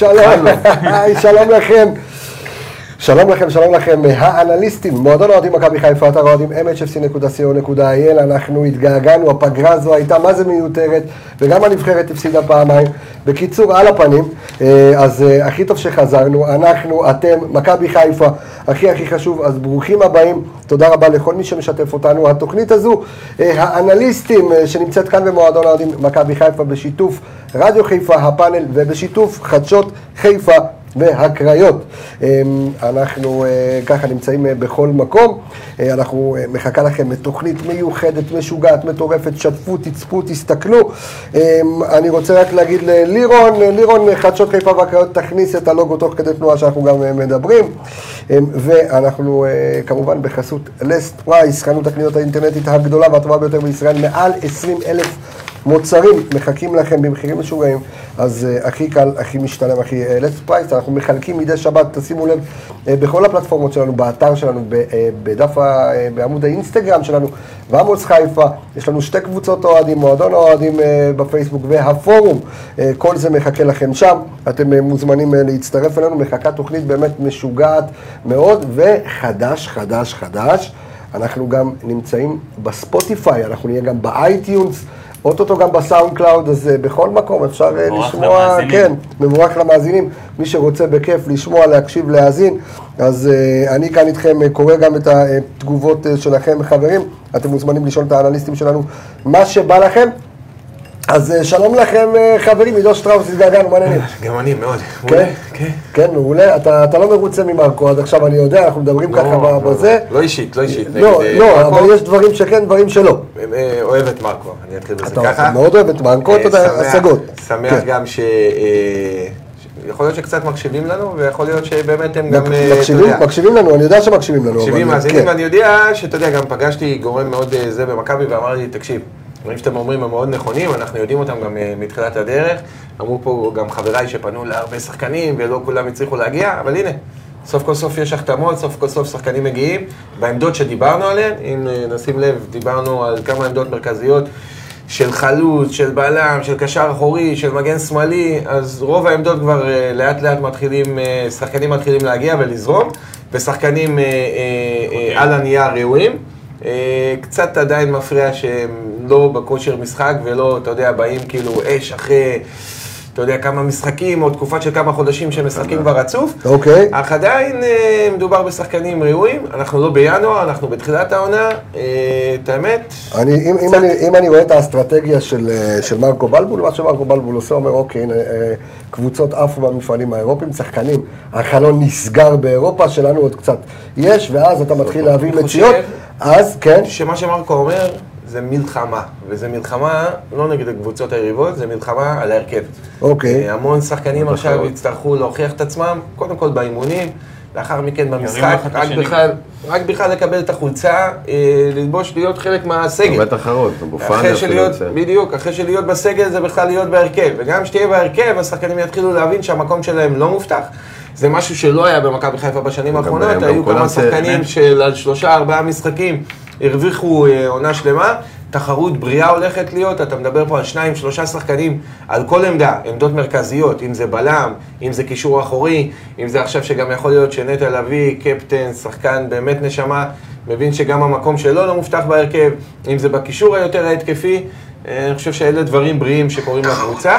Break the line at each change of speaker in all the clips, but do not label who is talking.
שלום, היי, שלום לכם. שלום לכם, שלום לכם, האנליסטים, מועדון האוהדים מכבי חיפה, אתר האוהדים mhfc.co.il, אנחנו התגעגענו, הפגרה הזו הייתה מה זה מיותרת, וגם הנבחרת הפסידה פעמיים. בקיצור, על הפנים, אה, אז אה, הכי טוב שחזרנו, אנחנו, אתם, מכבי חיפה, הכי הכי חשוב, אז ברוכים הבאים, תודה רבה לכל מי שמשתף אותנו. התוכנית הזו, אה, האנליסטים, אה, שנמצאת כאן במועדון האוהדים מכבי חיפה, בשיתוף רדיו חיפה, הפאנל, ובשיתוף חדשות חיפה. והקריות. אמ, אנחנו אה, ככה נמצאים אה, בכל מקום, אה, אנחנו אה, מחכה לכם בתוכנית מיוחדת, משוגעת, מטורפת, שתפו, תצפו, תסתכלו. אמ, אני רוצה רק להגיד ללירון, אה, לירון אה, חדשות חיפה והקריות, תכניס את הלוגו תוך כדי תנועה שאנחנו גם אה, מדברים. אמ, ואנחנו אה, כמובן בחסות לסט פרייס, חנות הקניות האינטרנטית הגדולה והטובה ביותר בישראל, מעל 20 אלף מוצרים מחכים לכם במחירים משוגעים, אז uh, הכי קל, הכי משתלם, הכי לס פרייס, אנחנו מחלקים מדי שבת, תשימו לב, uh, בכל הפלטפורמות שלנו, באתר שלנו, ב, uh, בדף, ה, uh, בעמוד האינסטגרם שלנו, ועמוס חיפה, יש לנו שתי קבוצות אוהדים, מועדון האוהדים uh, בפייסבוק והפורום, uh, כל זה מחכה לכם שם, אתם uh, מוזמנים uh, להצטרף אלינו, מחכה תוכנית באמת משוגעת מאוד, וחדש, חדש, חדש, אנחנו גם נמצאים בספוטיפיי, אנחנו נהיה גם באייטיונס, אוטוטו גם בסאונד קלאוד, אז אה, בכל מקום אפשר אה,
מבורך
לשמוע,
למאזינים.
כן, מבורך למאזינים, מי שרוצה בכיף לשמוע, להקשיב, להאזין, אז אה, אני כאן איתכם אה, קורא גם את התגובות אה, שלכם, חברים, אתם מוזמנים לשאול את האנליסטים שלנו מה שבא לכם, אז אה, שלום לכם אה, חברים, עידו שטראוס, התגעגענו, מה העניינים?
גם אני מאוד.
כן?
מעולה, כן.
כן, מעולה, אתה אתה לא מרוצה ממרקו עד עכשיו, אני יודע, אנחנו מדברים ככה ב- בזה.
לא אישית, לא אישית.
לא,
נגד, אה,
לא,
מרקו.
אבל יש דברים שכן, דברים שלא.
אה, אוהב את מרקו, אני אתחיל בזה
אתה
ככה. אה,
מאוד אוהב את מרקו, אתה יודע,
שמח-
השגות.
שמח
כן.
גם ש... אה, ש- יכול להיות שקצת מקשיבים לנו, ויכול להיות שבאמת הם גם... אה, אתה
מקשיבים,
יודע,
מקשיבים לנו, אני יודע שמקשיבים לנו.
מקשיבים
אבל-
מאזינים,
כן.
ואני יודע שאתה יודע, גם פגשתי גורם מאוד אה, זה במכבי, ואמר לי, תקשיב, הדברים שאתם אומרים הם מאוד נכונים, אנחנו יודעים אותם גם אה, מתחילת הדרך. אמרו פה גם חבריי שפנו להרבה שחקנים, ולא כולם הצליחו להגיע, אבל הנה. סוף כל סוף יש החתמות, סוף כל סוף שחקנים מגיעים. בעמדות שדיברנו עליהן, אם אה, נשים לב, דיברנו על כמה עמדות מרכזיות של חלוץ, של בלם, של קשר אחורי, של מגן שמאלי, אז רוב העמדות כבר אה, לאט לאט מתחילים, אה, שחקנים מתחילים להגיע ולזרום, ושחקנים אה, אה, אה, על הנייר ראויים. אה, קצת עדיין מפריע שהם לא בכושר משחק ולא, אתה יודע, באים כאילו אש אחרי, אתה יודע, כמה משחקים או תקופה של כמה חודשים שהם משחקים כבר רצוף.
אוקיי.
אך עדיין אה, מדובר בשחקנים ראויים, אנחנו לא בינואר, אנחנו בתחילת העונה, אה, את האמת,
אני, אם, אם, אני, אם אני רואה את האסטרטגיה של, אה, של מרקו בלבול, מה שמרקו בלבול עושה, אומר, אוקיי, הנה, אה, קבוצות עפו במפעלים האירופיים, שחקנים, החלון נסגר באירופה, שלנו עוד קצת יש, ואז אתה מתחיל להביא
נכון. אני
מציאות,
חושב-
אז כן,
שמה שמרקו אומר זה מלחמה, וזו מלחמה לא נגד הקבוצות היריבות, זו מלחמה על ההרכב.
אוקיי.
אה, המון שחקנים עכשיו
בתחרות.
יצטרכו להוכיח את עצמם, קודם כל באימונים, לאחר מכן במשחק,
אחד את
רק
השני.
בכלל, רק בכלל לקבל את החולצה, אה, ללבוש, להיות חלק מהסגל.
הרבה תחרות, בופנה
אחרי
אפילו
שלהיות,
יוצא.
בדיוק, אחרי שלהיות בסגל זה בכלל להיות בהרכב, וגם כשתהיה בהרכב, השחקנים יתחילו להבין שהמקום שלהם לא מובטח. זה משהו שלא היה במכבי חיפה בשנים האחרונות,
גם
היו
כולם
כמה
ש-
שחקנים של על שלושה ארבעה משחקים הרוויחו אה, עונה שלמה, תחרות בריאה הולכת להיות, אתה מדבר פה על שניים שלושה שחקנים על כל עמדה, עמדות מרכזיות, אם זה בלם, אם זה קישור אחורי, אם זה עכשיו שגם יכול להיות שנטע לביא, קפטן, שחקן באמת נשמה, מבין שגם המקום שלו לא מובטח בהרכב, אם זה בקישור היותר ההתקפי, אה, אני חושב שאלה דברים בריאים שקורים לקבוצה.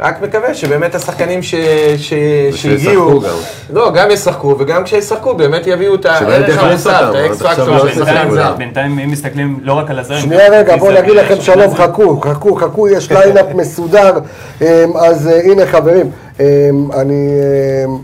רק מקווה שבאמת השחקנים ש... ש... שהגיעו,
גם.
לא, גם ישחקו, וגם כשישחקו באמת יביאו את
שלא
הערך
יתפרס
המוסף, את
אותם,
האקס
עד עכשיו
פקטור
לא
של
עשו
שחקן
בינתיים,
כולם.
זר.
בינתיים, אם מסתכלים לא רק על הזרים,
שנייה רגע, בואו
זה-
נגיד לכם
זה-
שלום, חכו, חכו, חכו, יש ליינאפ מסודר. אמ, אז אה, הנה חברים, אמ, אני... אמ,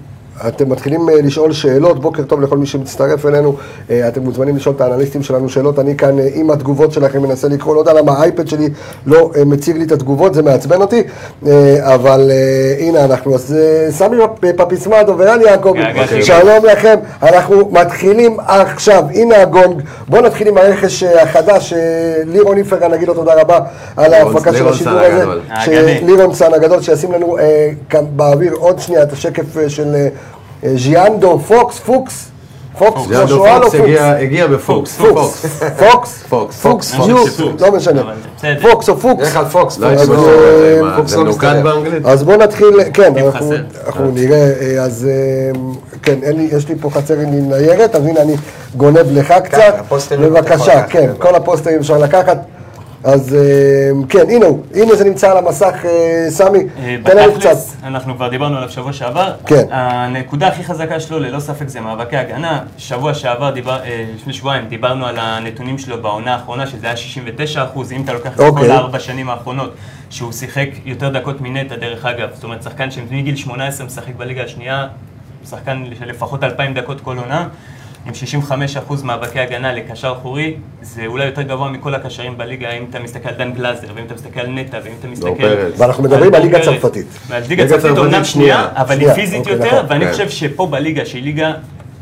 אתם מתחילים אה, לשאול שאלות, בוקר טוב לכל מי שמצטרף אלינו, אה, אתם מוזמנים לשאול את האנליסטים שלנו שאלות, אני כאן אה, עם התגובות שלכם מנסה לקרוא, לא יודע למה האייפד שלי לא אה, מציג לי את התגובות, זה מעצבן אותי, אה, אבל אה, הנה אנחנו, אז אה, סמי פ- פפיסמדו ורן יעקב,
געגעתי.
אוקיי. שלום לכם, אנחנו מתחילים עכשיו, הנה הגונג. בואו נתחיל עם הרכש אה, החדש, אה, לירון איפרגן, נגיד לו תודה רבה על
לירון-
ההפקה של
לירון
השידור
סאן
הזה.
הגדול.
האגדי.
ש- לירון סאן הגדול, שישים לנו אה, כאן באוויר עוד שנייה את השקף אה, של אה, אה, ז'יאנדו פוקס, פוקס. פוקס,
ליאנדו
שואל או
פוקס
פוקס?
הגיע- הגיע בפוקס.
פוקס, פוקס,
פוקס.
פוקס,
פוקס.
ניוס,
פוקס.
לא משנה,
אבל בסדר.
פוקס או פוקס.
לך על פוקס,
לא
פוקס
הייתי
אז,
בטוח,
אה,
מה,
פוקס
זה
לא
מנוקד
מסתדר.
באנגלית?
אז בואו נתחיל, כן,
טיפ
אנחנו-
חסר.
אנחנו נראה, אה, אז אה, כן, אין לי- יש לי פה חצר עם ניירת, אז הנה אני גונב לך קצת,
הפוסטרים אתה יכול
בבקשה,
לקחת,
כן,
כן.
כל הפוסטרים אפשר לקחת, אז אה, כן, הנה הוא, הנה זה נמצא על המסך, אה, סמי,
אה,
תן לנו קצת,
בתכלס, אנחנו כבר דיברנו עליו שבוע שעבר.
כן.
הנקודה הכי חזקה שלו, ללא ספק, זה מאבקי הגנה. שבוע שעבר, דיבר- אה, לפני שבועיים, דיברנו על הנתונים שלו בעונה האחרונה, שזה היה 69 אחוז, אם אתה לוקח את
אוקיי.
כל הארבע שנים האחרונות, שהוא שיחק יותר דקות מנטע, דרך אגב. זאת אומרת, שחקן שמגיל 18 משחק בליגה השנייה, שחקן של לפחות 2,000 דקות כל עונה. עם 65% מאבקי הגנה לקשר אחורי, זה אולי יותר גבוה מכל הקשרים בליגה, אם אתה מסתכל על דן גלאזר, ואם אתה מסתכל על נטע, ואם אתה מסתכל...
פרץ.
ואנחנו מדברים על ליגה
פרץ.
צרפתית.
כן. ועל ליגה צרפתית
צרפתית
אומנם
שנייה.
שנייה, אבל היא
שנייה,
פיזית
אוקיי,
יותר,
נכון.
ואני
כן.
חושב שפה בליגה שהיא ליגה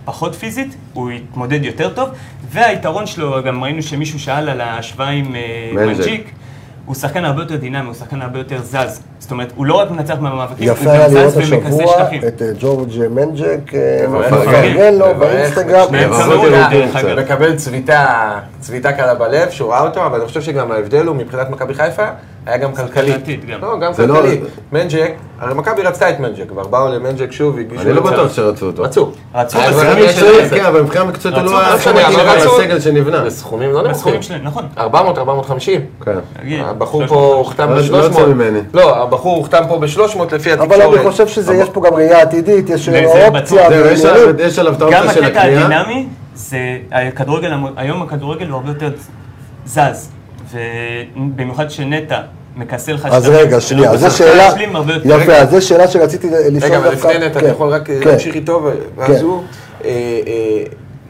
פחות פיזית, הוא יתמודד יותר טוב, והיתרון שלו, גם ראינו שמישהו שאל על ההשוואה עם אה,
מנג'ק.
מנג'יק, הוא שחקן הרבה יותר דינמי, הוא שחקן הרבה יותר זז. זאת אומרת, הוא לא רק מנצח במאבקים, הוא
יפה היה
גם
לראות
זז ומכסה
השבוע
שטחים.
את אה, ג'ורג' מנג'ק, אה,
מברך,
מפרגן לו
מברך,
באינסטגרם,
שניהם
אבל
צמאו
זה
לו,
לא
דרך
קבוצה.
אגב.
מקבל צביטה, צביטה קלה בלב, שהוא ראה אותו, אבל אני חושב שגם ההבדל הוא מבחינת מכבי חיפה, היה גם כלכלי.
עתיד גם.
לא, גם
זה לא-
כלכלי. מנג'ק, הרי מכבי רצתה את מנג'ק, כבר באו למנג'ק שוב, הגישו...
אני לא
הצעה.
בטוח שרצו אותו.
רצו.
רצו, בסכומים
אבל גם
מבחינה
יש
מקצועית,
לזה.
כן, אבל מבחינה מקצועית הוא לא
רצו,
היה
רצו,
חלק
אבל רצו.
מהסגל שנבחר.
בסכומים לא נמוכים.
בסכומים שלהם, נכון.
400, 450.
כן.
תגיד.
הבחור פה הוכתם
לא
ב-300.
יצא ממני.
לא, הבחור הוכתם פה ב-300 לפי התקשורת.
אבל אני חושב שזה, יש פה גם ראייה עתידית, יש אה,
זה
אופציה,
בטוח.
זהו, יש
ועניינים.
עליו- יש עליו את
גם
האופציה של
הקטע
הקנייה.
הדינמי, זה הכדורגל, המ- היום הכדורגל הוא הרבה יותר זז, ובמיוחד שנטע מכסה לך
אז
שטחים,
רגע, שנייה,
ושחקן
זו שאלה,
משלים הרבה יותר.
יפה, אז זו שאלה שרציתי לשאול
רגע, אבל
דווקא-
לפני נטע,
כן,
אתה יכול רק
כן.
להמשיך איתו, ו-
כן.
ואז הוא... אה, אה,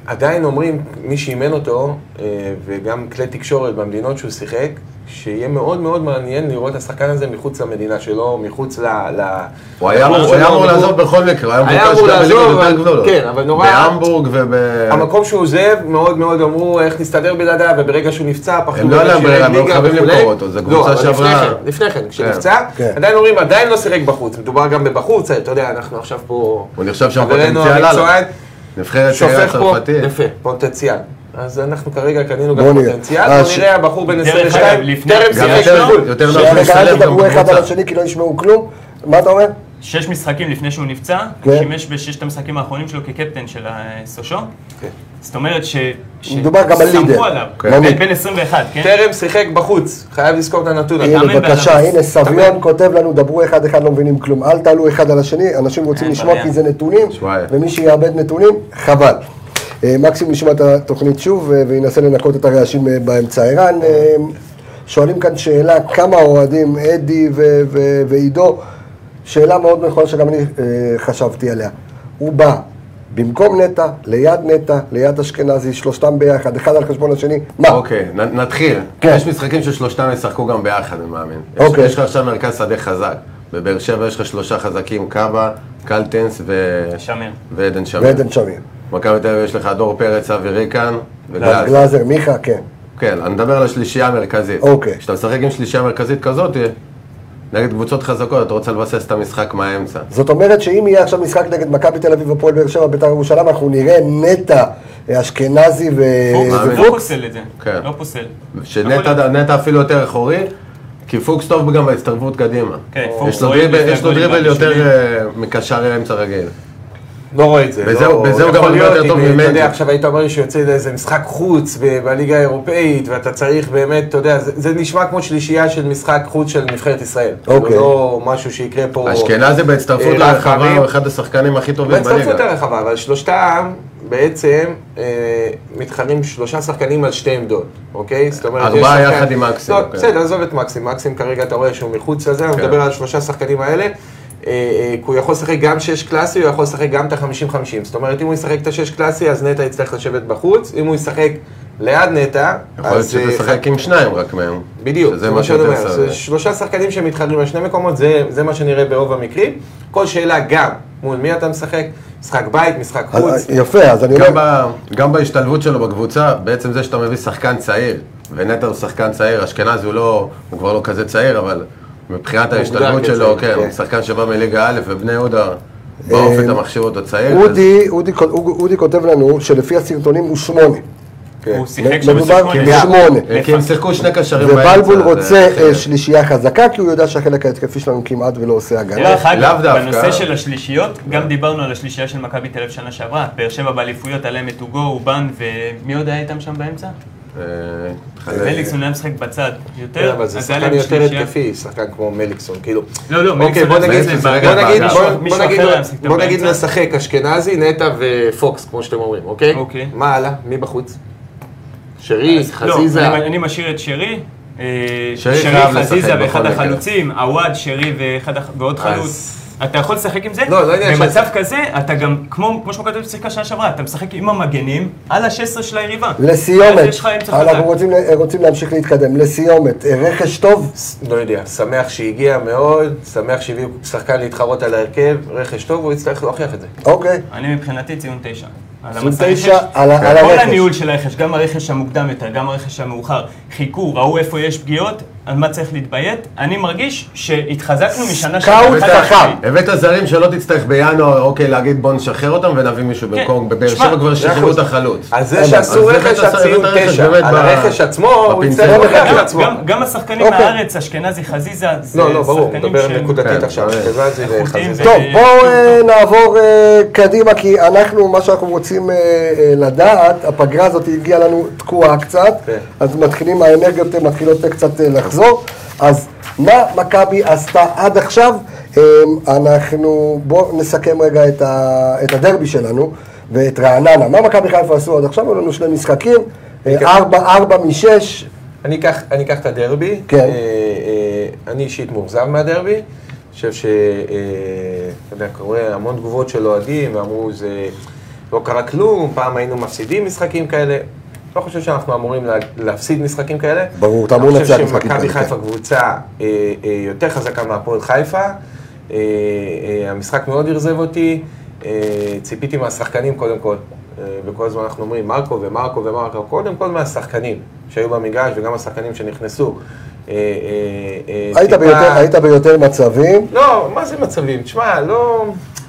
עדיין אומרים, מי שאימן אותו, אה, וגם כלי תקשורת במדינות שהוא שיחק, שיהיה מאוד מאוד מעניין לראות את השחקן הזה מחוץ למדינה שלו, מחוץ ל... ל-
הוא היה אמור-
למקום
הוא היה
שלו,
אמור
מחוץ-
לעזוב בכל מקרה, הוא
היה
היה
אמור
אמור לעזוב,
לעזוב,
אבל...
אבל- כן, אבל נורא-
בהמבורג וב...
המקום שהוא עוזב, מאוד מאוד אמרו איך נסתדר בלעדיו, וברגע שהוא נפצע, פחדו
הם לא
ממנו
עליו
שירד
ברירה, הם היו
ליגה
חייבים
וכולי.
למכור אותו, זו
לא,
קבוצה
אבל לפני
שעברה-
כן, לפני כן, כשנפצע,
כן.
עדיין אומרים, עדיין לא סירק בחוץ, מדובר גם בבחוץ, אתה יודע, אנחנו עכשיו פה...
הוא נחשב שם
חברנו
פוטנציאל
המקצוען,
עליו. נבחרת צעירה
שופך פה,
צרפתית.
יפה, פוטנציאל. אז אנחנו כרגע קנינו גם
בוא נראה.
פוטנציאל,
אה,
בוא
ש-
נראה, הבחור בן
דרך
22,
אגב, לפני-
טרם
גם
שיחק
יותר-
בחו"ל.
יותר נוח
שנייה, רגע, אל
להשתלב גם
תדברו אחד על
בקבוצה.
השני כי לא ישמעו כלום. מה אתה אומר?
שש משחקים לפני שהוא נפצע,
כן.
שימש בששת המשחקים האחרונים שלו כקפטן של הסושו. זאת אומרת ש... ש-
כן. מדובר גם על לידר.
שסמכו עליו,
כן.
בן-
מנהיג.
בן 21, כן?
טרם שיחק בחוץ, חייב לזכור את הנתון הזה.
הנה,
מאמן
בבקשה,
בעליו.
הנה, סביון כותב לנו, דברו אחד אחד, לא מבינים כלום. אל תעלו אחד על השני, אנשים רוצים
אין
לשמוע
בעיה.
כי זה נתונים,
שוואיה.
ומי שיאבד נתונים, חבל. אה, מקסימום ישמע את התוכנית שוב אה, וינסה לנקות את הרעשים אה, באמצע. ערן, אה, שואלים כאן שאלה, כמה אוהדים, אדי ו- ו- ועידו, שאלה מאוד נכונה שגם אני אה, חשבתי עליה. הוא בא במקום נטע, ליד נטע, ליד אשכנזי, שלושתם ביחד, אחד על חשבון השני, מה?
אוקיי, נ- נתחיל.
כן.
יש משחקים ששלושתם ישחקו גם ביחד, אני מאמין. יש-
אוקיי.
יש לך עכשיו מרכז שדה חזק. בבאר שבע יש לך שלושה חזקים, קאבה, קלטנס ו...
שמיר.
ועדן שמיר.
ועדן שמיר.
מכבי תל אביב יש לך דור פרץ, אבי ריקן וגלאזר.
גלאזר, מיכה, כן.
כן, אני מדבר על השלישייה המרכזית.
אוקיי.
כשאתה משחק עם שלישייה מרכזית כזאת, נגד קבוצות חזקות, אתה רוצה לבסס את המשחק מהאמצע.
זאת אומרת שאם יהיה עכשיו משחק נגד מכבי תל אביב, הפועל באר שבע, בית"ר ירושלים, אנחנו נראה נטע, אשכנזי ו...
מאמין.
לא פוסל את זה,
כן.
לא פוסל. יכול
שנטע נטע אפילו יותר אחורי, כי פוקס טוב גם בהצטרפות קדימה.
כן, פוקס
יש לו
רואה
דריבל-
לפני
יש לו
הגולים
דריבל יותר
והבישולים.
אה, מקשר אמצע רגיל.
לא רואה את זה.
בזה הוא- בזה הוא גם הרבה יותר טוב
ממני. אתה
ממני.
יודע, עכשיו היית אומר לי שיוצא לאיזה משחק חוץ ב- בליגה האירופאית, ואתה צריך באמת, אתה יודע, זה זה נשמע כמו שלישייה של משחק חוץ של נבחרת ישראל.
אוקיי.
זה לא משהו שיקרה פה...
אשכנזי בהצטרפות
אה,
לרחבה
רחמים.
הוא אחד השחקנים הכי טובים
בהצטרפות
בליגה.
הרחבה, אבל שלושתם בעצם אה, מתחרים שלושה שחקנים על שתי עמדות, אוקיי? זאת אומרת,
ארבעה
יש שחקן-
יחד עם מקסים,
לא,
כן.
בסדר, עזוב את מקסים, מקסים כרגע אתה רואה שהוא מחוץ לזה, אני
כן.
מדבר על שלושה שחקנים האלה. אה, אה, כי הוא יכול לשחק גם שש קלאסי, הוא יכול לשחק גם את ה-50-50. זאת אומרת, אם הוא ישחק את השש קלאסי, אז נטע יצטרך לשבת בחוץ, אם הוא ישחק ליד נטע,
יכול להיות
אז... אה,
שתשחק עם שניים רק מהם.
בדיוק,
שזה מה שיותר
אומר.
סביר.
זה שלושה שחקנים שמתחרים על שני מקומות, זה, זה מה שנראה ברוב המקרים. כל שאלה גם מול מי אתה משחק, משחק בית, משחק חוץ.
אז- יפה, אז אני
גם,
אומר,
ב, גם בהשתלבות שלו בקבוצה, בעצם זה שאתה מביא שחקן צעיר, ונטע הוא שחקן צעיר, אשכנזי הוא לא, הוא כבר לא כזה צעיר, אבל מבחינת ההשתלבות
כצעיר,
שלו, כן,
כן. אה,
הוא שחקן שבא מליגה א' ובני יהודה, באופן אתה מחשיב אותו צעיר. אז-
אודי, אודי, אודי, אודי כותב לנו שלפי הסרטונים הוא שמונה.
הוא שיחק כן. שם
כן. מדובר כן.
בסרטון.
בשמונה.
אה, כי הם שיחקו שני קשרים
ובלבול
זה
רוצה
אחרת.
אה, שלישייה חזקה, כי הוא יודע שהחלק ההתקפי שלנו כמעט ולא עושה הגנה.
דרך אגב,
לאו דווקא.
בנושא של השלישיות, גם דיברנו על השלישייה של מכבי תל אביב שנה שעברה. באר שבע באליפויות, עליהם את אוגו, אובן, ומי עוד היה איתם שם באמצע?
אה,
מליקסון היה משחק בצד יותר,
כן, אבל זה
אז היה
שחקן
להם
יותר
שלישייה.
התקפי, שחקן כמו מליקסון, כאילו.
לא, לא,
אוקיי,
מליקסון
בוא
היה
נגיד,
משחק
בוא
זה
בצד.
רגע
נגיד,
בעבר.
בוא-
מישהו-
בוא
מישהו
נגיד,
אחר היה משחק
בוא נגיד
באמצע?
נשחק אשכנזי, נטע ופוקס, כמו שאתם אומרים, אוקיי?
אוקיי.
מה הלאה? מי בחוץ? שרי,
לא,
חזיזה.
אני- אני משאיר את שרי. אה,
שרי
שרי,
חייב לשחק
חזיזה
בכל
ואחד
מקרה.
החלוצים, עווד, שרי ואחד הח- ועוד
אז-
חלוץ. אתה יכול לשחק עם זה?
לא, לא עניין של-
במצב כזה, אתה גם, כמו כמו שמכבי תל אביב שיחקה שנה שעברה, אתה משחק עם המגנים על ה-16 של היריבה. אז
לסיומת,
יש לך אמצע
אנחנו
חזק.
רוצים ל- רוצים להמשיך להתקדם. לסיומת, אה, רכש טוב,
לא יודע, שמח שהגיע מאוד, שמח שהביאו שחקן להתחרות על ההרכב, רכש טוב, הוא יצטרך להוכיח את זה.
אוקיי.
אני מבחינתי ציון תשע. על
ציון
המצב
תשע
רכש.
על ה- על
כל
הרכש.
הניהול של הרכש, גם הרכש המוקדם יותר, גם הרכש המאוחר, חיכו, ראו איפה יש פגיעות, על מה צריך להתביית. אני מרגיש שהתחזקנו משנה
סקאוט
חד
חכם.
משמעית.
הבאת זרים שלא תצטרך בינואר, אוקיי, להגיד בוא נשחרר אותם ונביא מישהו במקום. בבאר
תשמע,
שבע כבר שחררו
אחוז.
את החלוץ.
על זה
בסדר,
שעשו
אז הבאת
רכש
את
הציון
הרכש
תשע,
באמת
על
ב-
הרכש עצמו, הוא
בפינצטה.
יצטרך להוכיח
גם-
את עצמו.
גם- גם השחקנים
אוקיי.
מהארץ, אשכנזי, חזיזה, זה
לא, לא, ברור,
שחקנים
מדבר
שהם-
נקודתית
כן,
עכשיו,
ברור.
אשכנזי
איכותיים
וחזיזה.
ו-
טוב, בואו אה, נעבור אה, קדימה, כי אנחנו, מה שאנחנו רוצים אה, אה, לדעת, הפגרה הזאת הגיעה לנו תקועה קצת,
כן.
אז מתחילים, האנרגיות אה, מתחילות אה, קצת אה, לחזור, אז מה מכבי עשתה עד עכשיו? אה, אנחנו, בואו נסכם רגע את, ה, את הדרבי שלנו ואת רעננה. מה מכבי חיפה עשו עד עכשיו? היו לנו שני משחקים, אה,
כן.
ארבע, ארבע משש,
אני אקח, אני אקח את הדרבי.
כן.
אה, אה, אני אישית מאוכזב מהדרבי. אני חושב ש... אה, אתה יודע, קורה המון תגובות של אוהדים, ואמרו, זה לא קרה כלום, פעם היינו מפסידים משחקים כאלה. לא חושב שאנחנו אמורים לה, להפסיד משחקים כאלה.
ברור, אתה אמור לנצח
אני חושב
משחקים כאלה,
שמכבי
כן.
חיפה קבוצה אה, אה, יותר חזקה מהפועל חיפה. אה, אה, המשחק מאוד אכזב אותי. אה, ציפיתי מהשחקנים קודם כל, אה, וכל הזמן אנחנו אומרים מרקו ומרקו ומרקו, קודם כל מהשחקנים שהיו במגרש וגם השחקנים שנכנסו. אה, אה, אה,
היית
טיפה-
ביותר, היית ביותר מצבים.
לא, מה זה מצבים? תשמע, לא...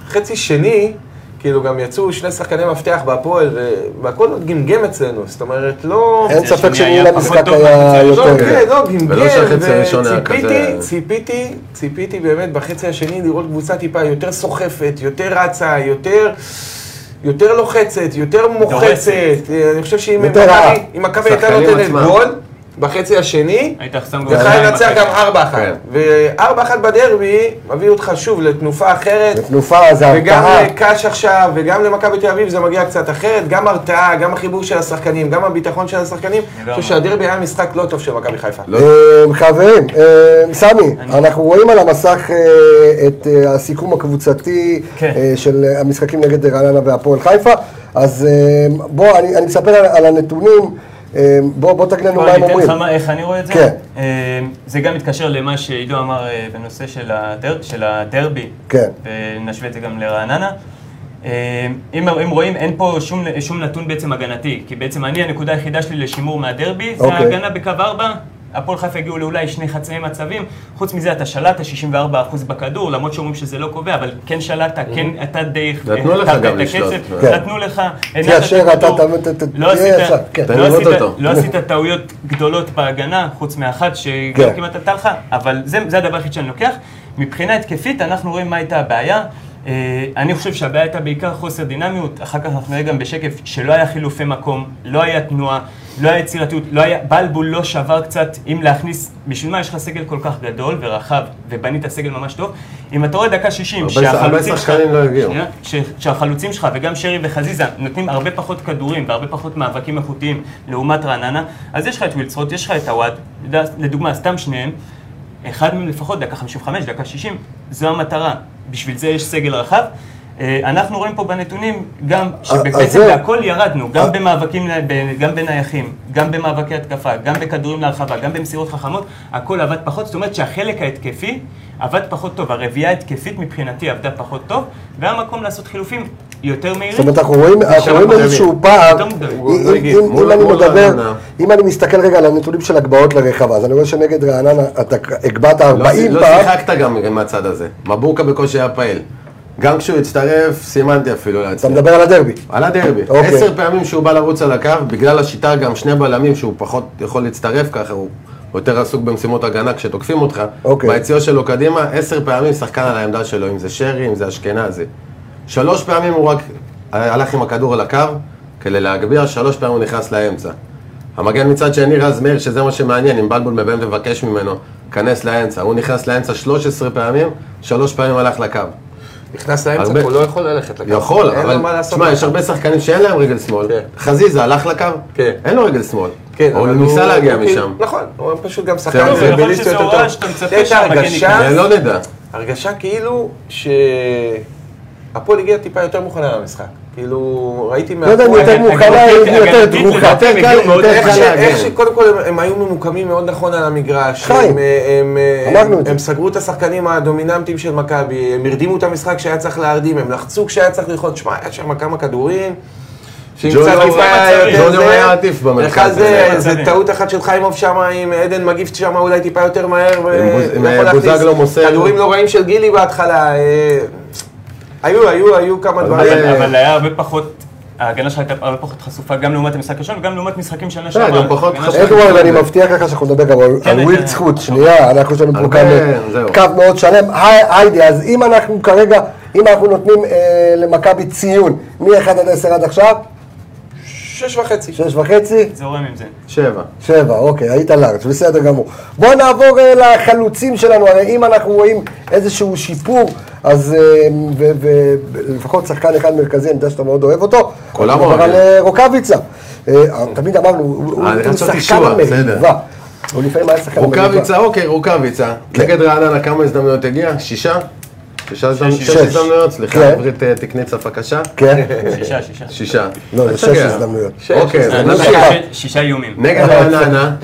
חצי שני, כאילו גם יצאו שני שחקני מפתח בהפועל, ו- והכל עוד גמגם אצלנו, זאת אומרת, לא...
אין
זה
ספק
שני
שניהול
היה פחות
המשחק
טוב
היה
מהקבוצה
יותר.
לא, כן, לא, גמגם,
ולא שהחצי הראשון היה
וציפיתי,
כזה-
ציפיתי, ציפיתי באמת בחצי השני לראות קבוצה טיפה יותר סוחפת, יותר רצה, יותר... יותר לוחצת, יותר מוחצת. אה, אני חושב שאם
יותר רעה.
מכבי- אם מכבי הייתה
שחקנים
נותנת
עצמם.
גול בחצי השני,
היית שם
זה חייב לנצח גם
כן.
4-1. ו-4-1 בדרבי מביא אותך שוב לתנופה אחרת.
תנופה זה
וגם אה,
הרתעה.
לקאש עכשיו, וגם למכבי תל אביב זה מגיע קצת אחרת, גם הרתעה, גם החיבור של השחקנים, גם הביטחון של השחקנים. אני חושב שהדרבי היה משחק לא טוב של מכבי חיפה.
לא.
אה, חברים, אה, סמי, אנחנו רואים על המסך אה, את אה, הסיכום הקבוצתי
כן.
אה, של אה, המשחקים נגד רעננה והפועל חיפה, אז אה, בוא, אני אני מספר על- על הנתונים, אה, בוא בוא תגיד לנו
בוא,
מה הם
אני אתן
אומרים.
לך מה- איך אני רואה את זה?
כן.
אה, זה גם מתקשר למה שעידו אמר אה, בנושא של הדר- של הדרבי.
כן.
ונשווה את זה גם לרעננה. אה, אם, אם רואים, אין פה שום, שום נתון בעצם הגנתי, כי בעצם אני, הנקודה היחידה שלי לשימור מהדרבי, זה
אוקיי.
ההגנה בקו 4. הפועל חיפה הגיעו לאולי שני חצאי מצבים, חוץ מזה אתה שלטת 64% בכדור, למרות שאומרים שזה לא קובע, אבל כן שלטת, כן אתה די...
אה. נתנו לך
הכתבת
גם
את
לשלוט.
הקצב,
כן.
נתנו לך, הנעת את
כאשר אתה
הכדור,
ת- ת- ת-
לא
תהיה
עשית-
ישר, כן.
לא
תן לראות
עשית-
אותו.
לא עשית טעויות גדולות בהגנה, חוץ מאחת שגם
כן.
כמעט עלתה לך, אבל זה, זה הדבר היחיד שאני לוקח. מבחינה התקפית, אנחנו רואים מה הייתה הבעיה. אה, אני חושב שהבעיה הייתה בעיקר חוסר דינמיות, אחר כך אנחנו נראה גם בשקף שלא היה חילופי מקום, לא היה תנועה, לא היה יצירתיות, לא היה, בלבול לא שבר קצת אם להכניס, בשביל מה יש לך סגל כל כך גדול ורחב, ובנית סגל ממש טוב, אם אתה רואה דקה 60,
הרבה- הרבה
שהחלוצים שלך-
שחקנים לא הגיעו.
שנייה, ש- שהחלוצים שלך וגם שרי וחזיזה נותנים הרבה פחות כדורים והרבה פחות מאבקים איכותיים לעומת רעננה, אז יש לך את וילצרוט, יש לך את הוואד, לד- לדוגמה, סתם שניהם, אחד מהם לפחות, דקה 55, דקה 60, זו המטרה. בשביל זה יש סגל רחב. אה, אנחנו רואים פה בנתונים גם
אה,
אז
שבעצם
זהו.
בהכל ירדנו,
אה.
גם במאבקים, ל- ב- גם בנייחים, גם במאבקי התקפה, גם בכדורים להרחבה, גם במסירות חכמות, הכל עבד פחות, זאת אומרת שהחלק ההתקפי עבד פחות טוב, הרביעייה ההתקפית מבחינתי עבדה פחות טוב, והיה מקום לעשות חילופים יותר
זאת
מהירים.
אומרת, אנחנו רואים, אנחנו רואים
מוקדמים.
איזשהו פער,
יותר מוקדמים.
אם- אם-
לא הגיב.
אם- אם
מול-
אני
מול
מדבר,
רעננה.
אם אני מסתכל רגע על הנתונים של הגבהות לרחבה, אז אני רואה שנגד רעננה אתה הגבהת
לא
40
לא
פעם,
שיחקת גם עם הצד הזה. מבוקה בקושי היה פעיל. גם כשהוא הצטרף, סימנתי אפילו
אתה
להצטרף.
מדבר על הדרבי.
על הדרבי.
אוקיי.
עשר פעמים שהוא בא לרוץ על הקו, בגלל השיטה גם שני בלמים שהוא פחות יכול להצטרף ככה, הוא יותר עסוק במשימות הגנה כשתוקפים אותך.
אוקיי.
ביציאו שלו קדימה, עשר פעמים שחקן על העמדה שלו, אם זה שרי, אם זה אשכנזי. שלוש פעמים הוא רק הלך עם הכדור על הקו כדי להגביה, שלוש פעמים הוא נכנס לאמצע. המגן מצד שני רז מאיר, שזה מה שמעניין, אם בלבול מבן מבקש ממנו, כנס לאמצע. הוא נכנס לאמצע 13 פעמים, שלוש פעמים הלך לקו.
נכנס לאמצע,
הרבה-
הוא לא יכול ללכת לקו.
יכול,
אין לו מה
אבל
לעשות.
תשמע, יש הרבה שחקנים שאין להם רגל שמאל.
כן.
חזיזה הלך לקו,
כן.
אין לו רגל שמאל.
כן,
הוא
אבל
ניסה להגיע
הוא-
משם.
נכון, הוא פשוט גם
בסדר,
שחקן
אבל יכול
ביליסטיות
להיות שזה
יותר.
הוראה שאתה מצפה
יש
שהמגן
הרגשה,
זה לא נדע.
הרגשה כאילו שהפועל הגיעה טיפה יותר מוכנה למשחק. כאילו, ראיתי מה...
לא יודע אם יותר
הגנתית-
מוכנה, היא יותר
אה, אוקיי,
כן,
הגנתית
דרוכה.
לדעתי הם
יותר קל,
הגיעו מאוד-
יותר
איך ש-
קל להגן.
איך שקודם כל הם- הם היו ממוקמים מאוד נכון על המגרש.
חיים,
הם, אה, הם, אה,
אמרנו
הם-
את זה.
הם סגרו את השחקנים הדומיננטיים של מכבי, הם הרדימו את המשחק כשהיה צריך להרדים, הם לחצו כשהיה צריך ללחוץ. שמע, היה שם כמה כדורים. שאם
ג'וניור
קצת
היה-
טיפה היה
ג'וניור
יותר זה-
היה עדיף במרכז.
בכלל זה,
במצבים.
זה טעות אחת של חיימוב שם עם עדן מגיף שם אולי טיפה יותר מהר. ו-
עם בוז- עם
ויכול להכניס
בוזגלו מוסר.
כדורים לא רעים של גילי בהתחלה. אה, היו, היו, היו כמה
אבל-
דברים.
אבל אבל היה הרבה פחות, ההגנה שלך הייתה הרבה פחות חשופה גם לעומת המשחק הראשון וגם לעומת משחקים שנה שעברה.
גם פחות
ההגנה
חשוב.
שלך-
אדוארד, אני מבטיח לך שאנחנו נדבר גם על-
אוקיי. כן,
על
אני-
ווילד זכות, שנייה, אנחנו יש לנו פה
הרבה-
כאן
זהו.
קו מאוד שלם. היי, היידי, אז אם אנחנו כרגע, אם אנחנו נותנים אה, למכבי ציון מ-1 עד 10 עד עכשיו,
שש וחצי.
6 וחצי,
זורם עם זה.
שבע.
7, אוקיי, היית לארג', בסדר גמור. בואו נעבור אה, לחלוצים שלנו, הרי אם אנחנו רואים איזשהו שיפור, אז אה, ו- ו- ולפחות שחקן אחד מרכזי, אני יודע שאתה מאוד אוהב אותו,
קולמו,
נדבר על
אני-
אה, רוקאביצה. אה, תמיד אמרנו, הוא- הוא
אה, אני
הוא שחקן
חשבתי שועה,
המריבה.
בסדר.
הוא לפעמים היה שחקן המריבה.
רוקאביצה, אוקיי, רוקאביצה. נגד רעננה כמה הזדמנויות הגיע? שישה? שישה הזדמנויות?
שש.
שש
שש.
הזדמנויות, סליחה,
כן.
עברית אה, תקנית שפה קשה.
כן,
שישה, שישה. אה,
שישה.
לא,
אל
זה שש
תשגע.
הזדמנויות.
אוקיי,
שש.
אז
לא
שישה-
שבע.
נמשיך.
שישה- שישה איומים.
נגד רעננה,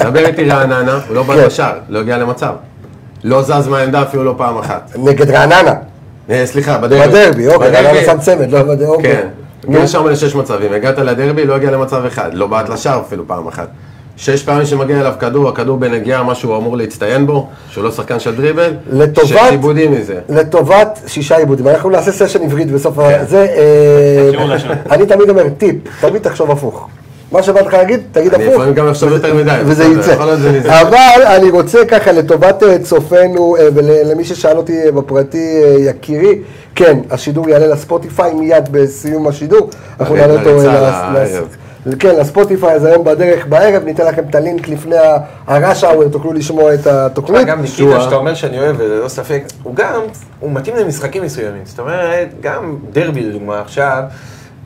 דבר איתי רעננה, הוא לא
כן.
בא לשער, לא הגיע למצב. לא זז מהעמדה אפילו לא פעם אחת.
נגד רעננה,
אה, סליחה, בדרבי.
בדרבי, אוקיי, רעננה שם צמד, לא בדרבי,
כן.
אוקיי. נו,
הגיע שם לשש מצבים, הגעת לדרבי, לא הגיע למצב אחד, לא בעט לשער אפילו פעם אחת. שש פעמים שמגיע אליו כדור, הכדור בנגיעה, מה שהוא אמור להצטיין בו, שהוא לא שחקן של דריבל,
לטובת-
שש עיבודים מזה.
לטובת שישה עיבודים, אנחנו נעשה סשן עברית בסוף ה...
כן.
זה... אה,
שיעור לשון.
אני תמיד אומר, טיפ, תמיד תחשוב הפוך. מה שבא לך להגיד, תגיד
אני
הפוך.
לפעמים גם אחשוב יותר מדי,
וזה
בסדר,
יצא. אה,
יכול להיות זה נזרק.
אבל אני רוצה ככה, לטובת אה, צופינו אה, ולמי ששאל אותי אה, בפרטי, אה, יקירי, כן, השידור יעלה לספוטיפיי מיד בסיום השידור. אנחנו
הרי
נעלה אותו
נריצה
אה, לס-
אוקיי, לערב.
לס- כן, לספוטיפיי, אז היום בדרך בערב, ניתן לכם את הלינק לפני הראש האוור, תוכלו לשמוע את התוכנית.
גם ניקיטה, שאתה אומר שאני אוהב, וללא ספק, הוא גם, הוא מתאים למשחקים מסוימים. זאת אומרת, גם דרבי לדוגמה עכשיו,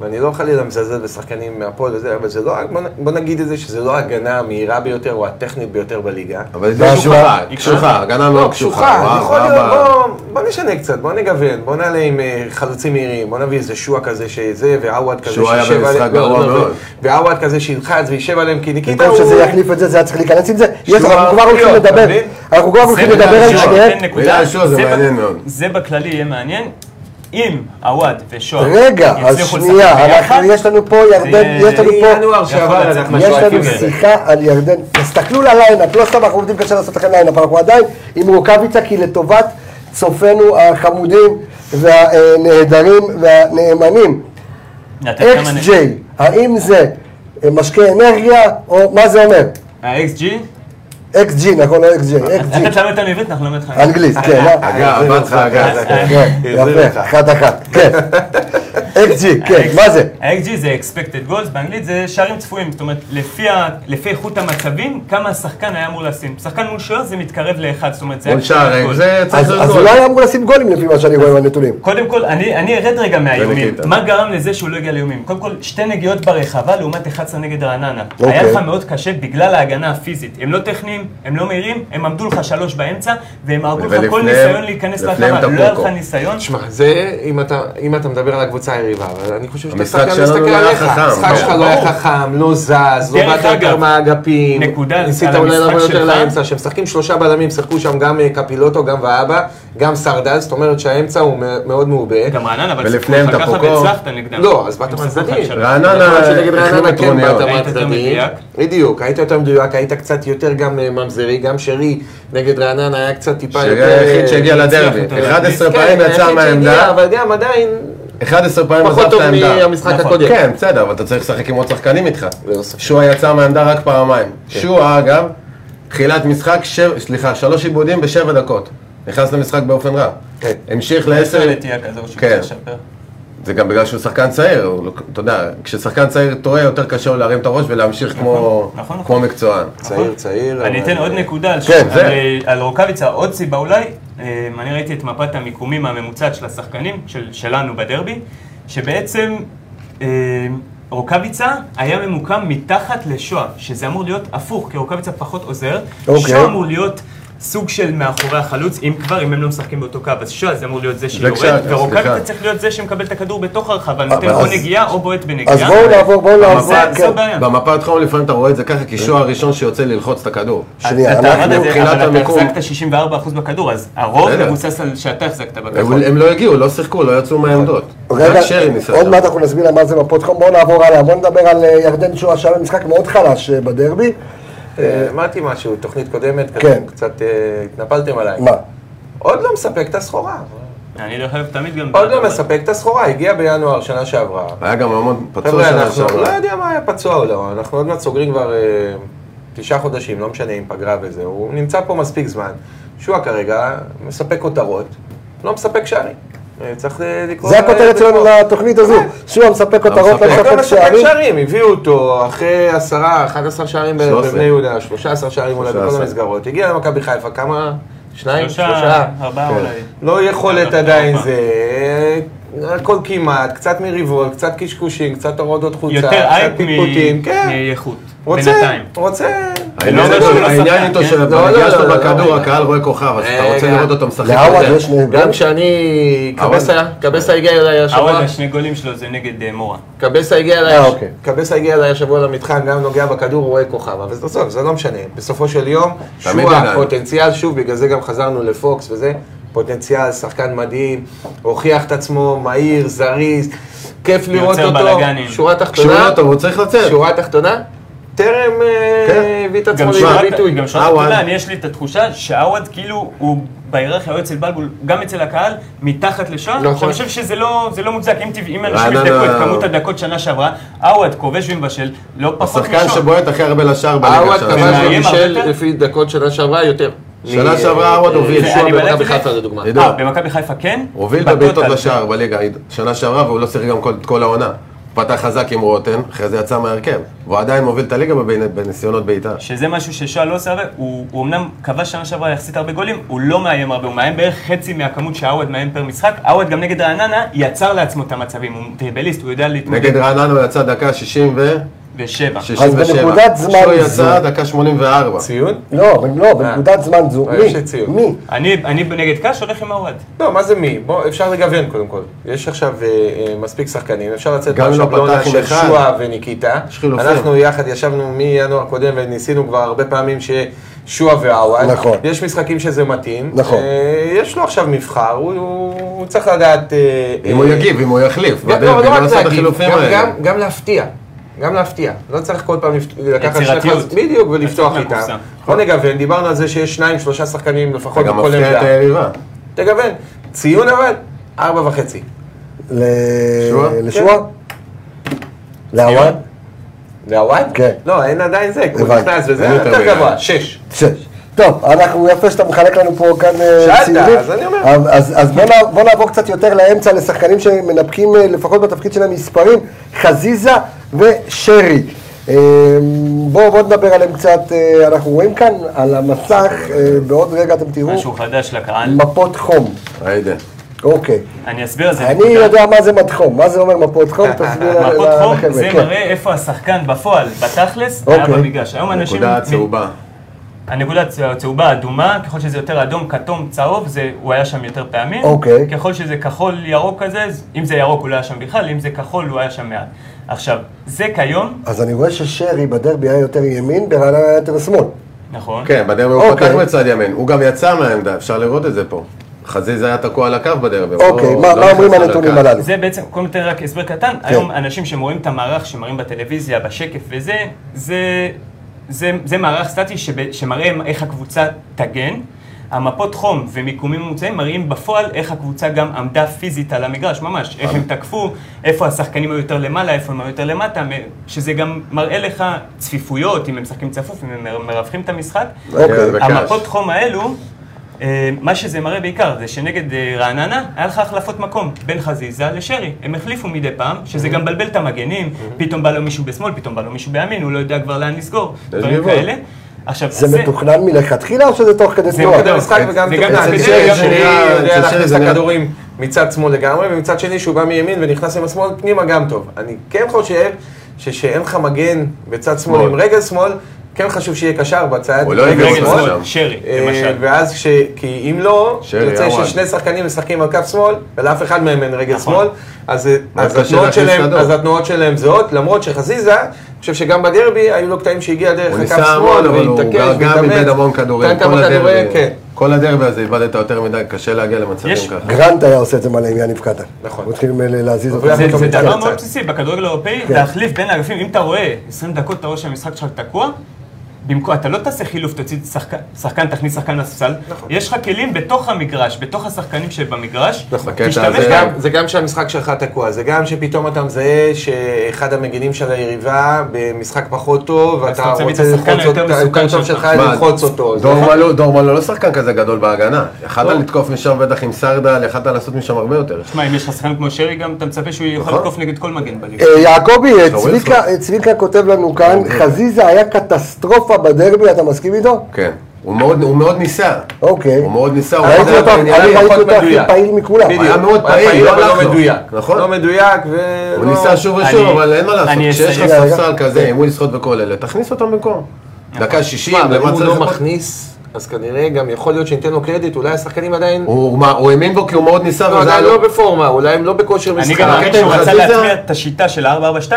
ואני לא חלילה מזלזל בשחקנים מהפועל וזה, אבל זה לא, בוא נ- בוא נגיד את זה שזה לא ההגנה המהירה ביותר או הטכנית ביותר בליגה.
אבל זה קשוחה,
היא
קשוחה, הגנה מאוד קשוחה.
קשוחה,
וואו,
לא, יכול להיות,
וואו, וואו.
בוא- בוא נשנה קצת, בוא נגוון, בוא נעלה עם אה, חלוצים מהירים, בוא נביא איזה שועה כזה שזה, ועווד כזה
שועה היה
שישב
במשחק
עליהם, לא, לא,
גרוע מאוד.
ועווד כזה שילחץ וישב עליהם, כי ניקיטה
במקום
הוא...
שזה יחליף את זה, זה היה צריך להיכנס עם זה. יש,
שלושה
אנחנו כבר הולכים
אופציות,
לדבר,
אתה מבין?
אנחנו כבר הולכים
זה
לדבר על
בכלל
שניהם.
נותן נקודה.
מילה על שועה זה
ב-
מעניין מאוד.
זה בכללי יהיה מעניין. אם עווד ושועה
רגע, אז
יצליחו לשחק
שנייה,
ביחד, אה,
אנחנו, יש לנו פה ירדן,
יהיה-
יש לנו פה,
מינואר שעבר
יכול
אנחנו
יש לנו
שואפים לזה.
שיחה על ירדן. תסתכלו לליינאפ, לא סתם אנחנו עובדים קשה לעשות לכם ליינאפ, אנחנו עדיין עם רוקאביצה, כי לטובת צופינו החמודים והנהדרים והנאמנים.
נתת כמה
אקס ג'יי, האם זה אה, משקה אנרגיה, או מה זה אומר?
ה-XG?
אקס ג'י, נכון? לא אקס ג'יי, אקס ג'י.
אתה תלמד אותנו עברית, אנחנו נלמד לך.
אנגלית, כן. לא?
אגב,
אה,
בא לך אגב.
אה,
כן,
החזיר
יפה,
לך.
אחת אחת, כן. אקס ג'י, כן,
ה-XG
מה זה?
ה-XG זה expected goals, באנגלית זה שערים צפויים, זאת אומרת, לפי ה- לפי איכות המצבים, כמה השחקן היה אמור לשים. שחקן מול שוער זה מתקרב לאחד, זאת
לא.
אומרת, זה
מול שער,
expected goal.
זה צריך
אז
להיות
אז הוא
גול.
לא היה אמור לשים גולים לפי מה שאני רואה מהנתונים.
קודם כל, אני, אני ארד רגע מהאיומים.
נקיטה.
מה גרם לזה שהוא לא הגיע לאיומים? קודם כל, שתי נגיעות ברחבה לעומת 11 נגד רעננה.
אוקיי.
היה לך מאוד קשה בגלל ההגנה הפיזית. הם לא טכניים, הם לא מהירים, הם עמדו לך שלוש באמצע, והם הרגו לך כל
ולפניהם-
ניסיון להיכנס
לפניהם
לרחבה. לא היה לך
טפוקו.
ניסיון.
תשמע, זה, אם אתה, אם אתה מדבר על הקבוצה היריבה, אבל אני חושב שאתה
המשחק
שחקן
שלנו
מסתכל
לא היה
עליך.
חכם,
המשחק
ברור,
שלך לא היה
ברור.
חכם, לא זז, לא
דרך
באת יותר
אגב,
מהאגפים.
נקודה
ניסית
על
אולי
המשחק
לבוא יותר
שלך.
לאמצע, שמשחקים שלושה בלמים, שיחקו שם גם אה, קפילוטו, גם ואבא, גם סרדל, זאת אומרת שהאמצע הוא מא- מאוד מעובה.
גם רעננה, אבל
ולפניהם
סיפרו לך ככה
טפוקו.
והצלחת נגדם.
לא, אז באת
הם סיפרו לך
מהצדדים.
שלוש.
רעננה,
יכול להיות אה, שנגד
החרימו
רעננה
את
כן
רוניות.
באת
היית יותר
מהצדדים.
מדויק.
בדיוק, היית יותר מדויק, היית קצת יותר גם אה, ממזרי, גם שרי נגד רעננה היה קצת טיפה יותר...
שרי היחיד שהגיע
אה,
לדרבי,
הצליח יותר
11
כן,
פעמים
אה,
היחיד
יצא
שהגיע,
מהעמדה,
אבל גם עדיין
11 פעמים עזב
פחות
את
טוב
העמדה.
מהמשחק
נכון.
אה,
הקודם.
כן, בסדר, אבל אתה צריך לשחק עם עוד שחקנים איתך.
ללא לא, ספק.
שועה יצא מהעמדה רק פעמיים. שועה, אגב, תחילת משחק, ש- סליחה, שלוש עיבודים בשבע דקות. נכנס למשחק באופן רע.
כן.
המשיך
יש לו
לעשר...
נטייה כזו שהוא
כן.
צריך לשפר.
זה גם בגלל שהוא שחקן צעיר, הוא לא- אתה יודע, כששחקן צעיר טועה יותר קשה לו להרים את הראש ולהמשיך כמו-
נכון, נכון.
כמו מקצוען.
צעיר, צעיר.
אני
אבל- אה,
אתן עוד נקודה על-
כן, זה.
על- אה, על רוקאביצה, עוד סיבה אולי, אה, אני ראיתי את מפת המיקומים הממוצעת של השחקנים, של- שלנו בדרבי, שבעצם אה, רוקאביצה היה ממוקם מתחת לשואה, שזה אמור להיות הפוך, כי רוקאביצה פחות עוזר,
אוקיי.
שואה אמור להיות... סוג של מאחורי החלוץ, אם כבר, אם הם לא משחקים באותו קו, אז שואה זה אמור להיות זה שיורד,
כשאגב, סליחה.
ורוקאביצה צריך להיות זה שמקבל את הכדור בתוך הרחבה, נותן
אבל
או
אז-
נגיעה או בועט בנגיעה.
אז בואו נעבור, בואו נעבור,
אה, זה- זו
כן.
הבעיה.
במפת חום לפעמים אתה רואה את זה ככה, כי שועה הראשון שיוצא ללחוץ את הכדור.
אה,
שנייה,
אתה
אנחנו
עמדת זה,
מבחינת
אבל
המיקום-
אתה החזקת 64% בכדור, אז הרוב
בסדר.
מבוסס על שאתה החזקת
הם
בכדור.
הם לא הגיעו, לא שיחקו, לא יצאו מהעמדות.
רגע,
רק שרי ניסה.
עוד
שם.
מעט אנחנו נסביר על מה זה מפות חום, בואו נעבור הלאה, בואו נדבר על אה, ירדן שואה שהיה במשחק מאוד חלש אה, בדרבי.
אה, אמרתי משהו, תוכנית קודמת, כזה,
כן.
קצת אה, התנפלתם עליי.
מה?
עוד לא מספק את הסחורה.
אני דרך אגב תמיד גם...
עוד לא מספק את הסחורה, הגיע בינואר שנה שעברה.
היה גם המון פצוע
חבר'ה,
שנה
אנחנו לא
שעברה.
יודע מה היה פצוע או לא, אנחנו עוד מעט סוגרים כבר אה, תשעה חודשים, לא משנה אם פגרה וזה, הוא נמצא פה מספיק זמן. שועה כרגע מספק כותרות, לא מספק שערים. אה, צריך אה, לקרוא...
זה
לילד
הכותרת שלנו
בשמו.
לתוכנית הזו,
כן.
שועה מספק כותרות, לא
מספק.
לא
מספק
מספק
שערים.
שערים, הביאו אותו אחרי עשרה, 11 שערים ב-
13.
בבני יהודה, 13 שערים אולי
13.
בכל המסגרות. הגיע למכבי חיפה, כמה? שניים?
שלושה,
שלושה?
ארבעה
כן.
אולי.
לא יכולת
ארבעה.
עדיין זה, הכל כמעט, קצת מריבות, קצת קשקושים, קצת הורדות חולצה,
יותר אייק
קצת פטפוטים,
מ-
כן.
מאיכות.
רוצה,
בינתיים.
רוצה.
העניין
לא אומר שהוא
איתו-
לא
העניין
שחקן,
איתו
כן?
לא,
שבנגיעה
לא,
שלו
לא,
בכדור
לא.
הקהל רואה כוכב, אז אתה רוצה
רגע.
לראות אותו משחק.
לעווד
בזה.
יש שני גולים.
גם כשאני, קבסה, קבסה הגיע אליי השבוע,
העוד השני גולים שלו זה נגד אה, מורה.
קבסה הגיע אליי,
אה, אוקיי.
קבסה הגיע אליי השבוע למתחם, גם נוגע בכדור, הוא רואה כוכב, אבל עזוב, זה לא משנה. בסופו של יום,
תמיד
שועה,
ידענו.
פוטנציאל, שוב, בגלל זה גם חזרנו לפוקס וזה, פוטנציאל, שחקן מדהים, הוכיח את עצמו, מהיר, זריז, כיף לראות אותו,
בלאגנים.
שורה
כשהוא
תחתונה,
לא טוב, הוא צריך לצאת.
שורה תחתונה, טרם אה,
כן. אה,
הביא את
גם
עצמו
שועה-
לידי ביטוי.
גם שועה,
עווד.
אתה יודע, אני יש לי את התחושה שעווד כאילו הוא בהיררכיה או אצל בלבול, גם אצל הקהל, מתחת לשואה.
נכון.
שאני חושב שזה לא זה לא מוצדק, אם טבעי- אם אנשים
רעננה-
יבדקו את כמות הדקות שנה שעברה, עווד כובש ומבשל, לא פחות
השחקן
משואה.
שבועט הכי הרבה לשער בליגה
עווד כבש
שלנו.
ומאיים הרבה
במישל
יותר?
לפי דקות שנה שעברה יותר.
שנה
מ- אה,
שעברה עווד הוביל.
שועה
אני בדקתי
במכבי
את זה.
חיפה לדוגמה.
ידוע.
אה, במכבי חיפה כן?
הוביל
בטוטל.
בבעיטות לשער בליגה שנה שעברה, והוא לא שיחק גם כל- את כל העונה. פתח חזק עם רוטן, אחרי זה יצא מההרכב. והוא עדיין מוביל את הליגה בבין- בניסיונות בעיטה.
שזה משהו ששואה לא עושה הרבה, הוא, הוא אמנם כבש שנה שעברה יחסית הרבה גולים, הוא לא מאיים הרבה, הוא מאיים בערך חצי מהכמות שעווד מאיים פר משחק, עווד גם נגד רעננה יצר לעצמו את המצבים, הוא טריבליסט, הוא יודע להתמודד
נגד רעננה הוא יצא דקה 60 ו...
בשבע.
67.
בנקודת זמן
שהוא
זו-
יצא דקה 84.
ציון?
לא, אבל לא, בנקודת זמן זו.
אה,
מי?
יש לי ציון.
מי?
אני, אני נגד קאש הולך עם עווד.
לא, מה זה מי? בוא, אפשר לגוון קודם כל. יש עכשיו אה, אה, מספיק שחקנים, אפשר לצאת
גם אם לא
מהשבלונה
פתח עם
של
אחד.
שועה וניקיטה.
יש חילופים.
אנחנו יחד ישבנו מינואר קודם וניסינו כבר הרבה פעמים שיהיה שועה ועווד.
נכון.
יש משחקים שזה מתאים.
נכון.
אה, יש לו עכשיו מבחר, הוא- הוא הוא צריך לדעת... אה,
אם הוא
אה,
יגיב, אם הוא יחליף.
גם- לא,
בדרך,
לא
גם
רק
לעשות את
להגיב,
החילופים
גם-
האלה.
גם- גם להפתיע. גם להפתיע. לא צריך כל פעם לפת- לקחת שני
יצירתיות.
חז... בדיוק, ולפתוח
לצאת
איתם.
מהקופסה.
בוא נגוון, דיברנו על זה שיש שניים, שלושה שחקנים
אתה
לפחות
גם
בכל
מפתיע את אה,
עמדה.
היריבה.
תגוון. ציון אבל, ארבע וחצי.
ל-
שועה?
לשועה? לעווד?
והוואט?
כן.
לא, אין עדיין זה, כי הוא
הבנתי.
נכנס וזה,
אין יותר
יותר
מדי. אוקיי.
גבוה, שש.
שש. טוב, אנחנו, יפה שאתה מחלק לנו פה כאן אה,
שאלת,
ציונים.
אז אני אומר.
אז- אז, אז בוא, נע- בוא נעבור קצת יותר לאמצע לשחקנים שמנפקים אה, לפחות בתפקיד שלהם מספרים, חזיזה ושרי. אה, בואו בוא נדבר עליהם קצת, אה, אנחנו רואים כאן על המסך, אה, בעוד רגע אתם תראו,
משהו חדש לקהל.
מפות חום.
היידה.
אוקיי.
אני אסביר על זה.
אני
נקודה.
יודע מה זה מד חום, מה זה אומר מפות חום, תסביר ל-
אוקיי. מפות
ל-
חום
לחבר'ה.
זה
כן.
מראה איפה השחקן בפועל, בתכלס, היה
אוקיי.
במגרש. היום אנשים...
נקודה צהובה.
הנקודה הצ- הצהובה אדומה, ככל שזה יותר אדום, כתום, צהוב, זה, הוא היה שם יותר פעמים.
אוקיי.
ככל שזה כחול ירוק כזה, אז אם זה ירוק הוא לא היה שם בכלל, אם זה כחול הוא היה שם מעט. עכשיו, זה כיום,
אז אני רואה ששרי בדרבי היה יותר ימין, ברעננה היה יותר שמאל.
נכון,
כן, בדרבי הוא פתח
אוקיי.
בצד ימין, הוא גם יצא מהעמדה, אפשר לראות את זה פה. חזיזה היה תקוע על הקו בדרבי. הוא
אוקיי,
לא-
מה
לא
מה אומרים
נכנס על
הנתונים
הקו.
הללו?
זה בעצם, קודם נותן רק הסבר קטן, היום אנשים שרואים את המערך שמראים בטלוויזיה, בשקף וזה, זה, זה, זה מערך סטטי שב, שמראה איך הקבוצה תגן. המפות חום ומיקומים ממוצעים מראים בפועל איך הקבוצה גם עמדה פיזית על המגרש, ממש, איך הם תקפו, איפה השחקנים היו יותר למעלה, איפה הם היו יותר למטה, מ- שזה גם מראה לך צפיפויות, אם הם משחקים צפוף, אם הם מר- מרווחים את המשחק.
אוקיי.
בקש.
המפות חום האלו, אה, מה שזה מראה בעיקר זה שנגד אה, רעננה, היה לך החלפות מקום בין חזיזה לשרי. הם החליפו מדי פעם, שזה גם מבלבל את המגנים, פתאום בא לו מישהו בשמאל, פתאום בא לו מישהו בימין, הוא לא יודע כבר לאן לסגור,
זה
דברים
דיבור.
כאלה. עכשיו,
זה מתוכנן מלכתחילה או שזה תוך כדי
זה
תנועה?
תוך
כדי המשחק
אוקיי.
וגם
זה גם
תוך כדי
אצל
שרי
שרי
אה, זה
יודע להכניס
נראה-
את
אצל שרי זה
הכדורים מצד שמאל לגמרי, ומצד שני שהוא בא מימין ונכנס עם השמאל פנימה גם טוב. אני כן חושב ששאין לך מגן בצד שמאל
שמאל.
עם רגל שמאל, כן חשוב שיהיה קשר בצד
הוא לא
רגל
הביא
רגל
שמאל
שמאל,
שם.
שרי,
אה,
למשל.
ואז, כש- כי אם לא,
שרי,
יוצא
עווד.
ששני שחקנים משחקים על קו שמאל, ולאף אחד מהם אין רגל
נכון.
שמאל, אז אה, אז
קשה
התנועות
להכניס
שלהם-
כדור.
אז התנועות שלהם זהות, למרות שחזיזה, אני חושב שגם בדרבי היו לו קטעים שהגיע דרך
הוא
הקו
ניסה
שמאל,
המון, אבל הוא
והתעקש,
גם- גם
והתאמץ,
איבד המון כדורים.
נתן כמה
כל
כדורים,
הדרבי-
כן.
כל הדרבי הזה איבדת יותר מדי, קשה להגיע למצבים
יש-
ככה.
גרנט היה עושה את זה מלא עם יניב קטן.
נכון.
הוא התחיל מ- אה, להזיז אותו.
זה-
זה-
פתאום
זה
יצא
דבר
לצד.
מאוד בסיסי, בכדורגל האירופאי,
כן.
להחליף בין האגפים, אם אתה רואה 20 דקות, אתה רואה שהמשחק שלך תקוע, במקום, אתה לא תעשה חילוף, תוציא שחקן, שחקן, תכניס שחקן לספסל, יש לך כלים בתוך המגרש, בתוך השחקנים שבמגרש,
נכון. בקטע
תשתמש
הזה-
גם
גם- זה גם שהמשחק שלך תקוע, זה גם שפתאום אתה מזהה שאחד המגינים של היריבה במשחק פחות טוב, ואתה
אתה
רוצה
מביא את השחקן
ללחוץ
היותר
אותו,
מסוכן
היותר טוב
שלך.
שלך
מה,
ללחוץ אותו. זה- לא.
דורמלו, דורמלו לא שחקן כזה גדול בהגנה. יכלת לתקוף משם בטח עם סרדל, יכלת לעשות משם הרבה יותר.
תשמע, אם יש לך שחקן כמו שרי, גם אתה מצפה שהוא יוכל
נכון.
לתקוף נגד כל מגן בליגה.
אה, יעקבי, אה,
אתה רואה
צביקה-
איפה?
אה, צביקה כותב לנו כאן, חזיזה היה קטסטרופה בדרבי, אתה מסכים איתו?
כן. הוא מאוד- הוא מאוד ניסה.
אוקיי.
הוא מאוד ניסה, הוא
ראיתי
מאוד-
אותך, אני
נראה לי
ראיתי
פחות
אותו הכי
מדויק.
פעיל מכולם.
בדיוק. היה מאוד
הוא היה
פעיל, לא
אבל
הלך לו.
לא מדויק.
נכון.
לא מדויק, ולא...
הוא ניסה שוב
לא, אני-
ושוב, אבל אין מה לעשות.
אני
כשיש לך
אסיים.
ספסל כזה עם ווילסקוט וכל אלה, תכניס אותם במקום.
נכון.
דקה שישים,
תשמע, אבל אם
למה
הוא
צריך...
לא
לחכות?
מכניס, אז כנראה גם יכול להיות שניתן לו קרדיט, אולי השחקנים עדיין...
הוא מה, הוא האמין בו כי הוא מאוד ניסה,
לא,
וזה היה
עדיין
לו...
לא בפורמה, אולי הם לא בכושר
אני
משחק.
גם כן מאמין
הקטע עם
שהוא רצה
חזיזה-
להטמיע את השיטה של ה-4-4-2.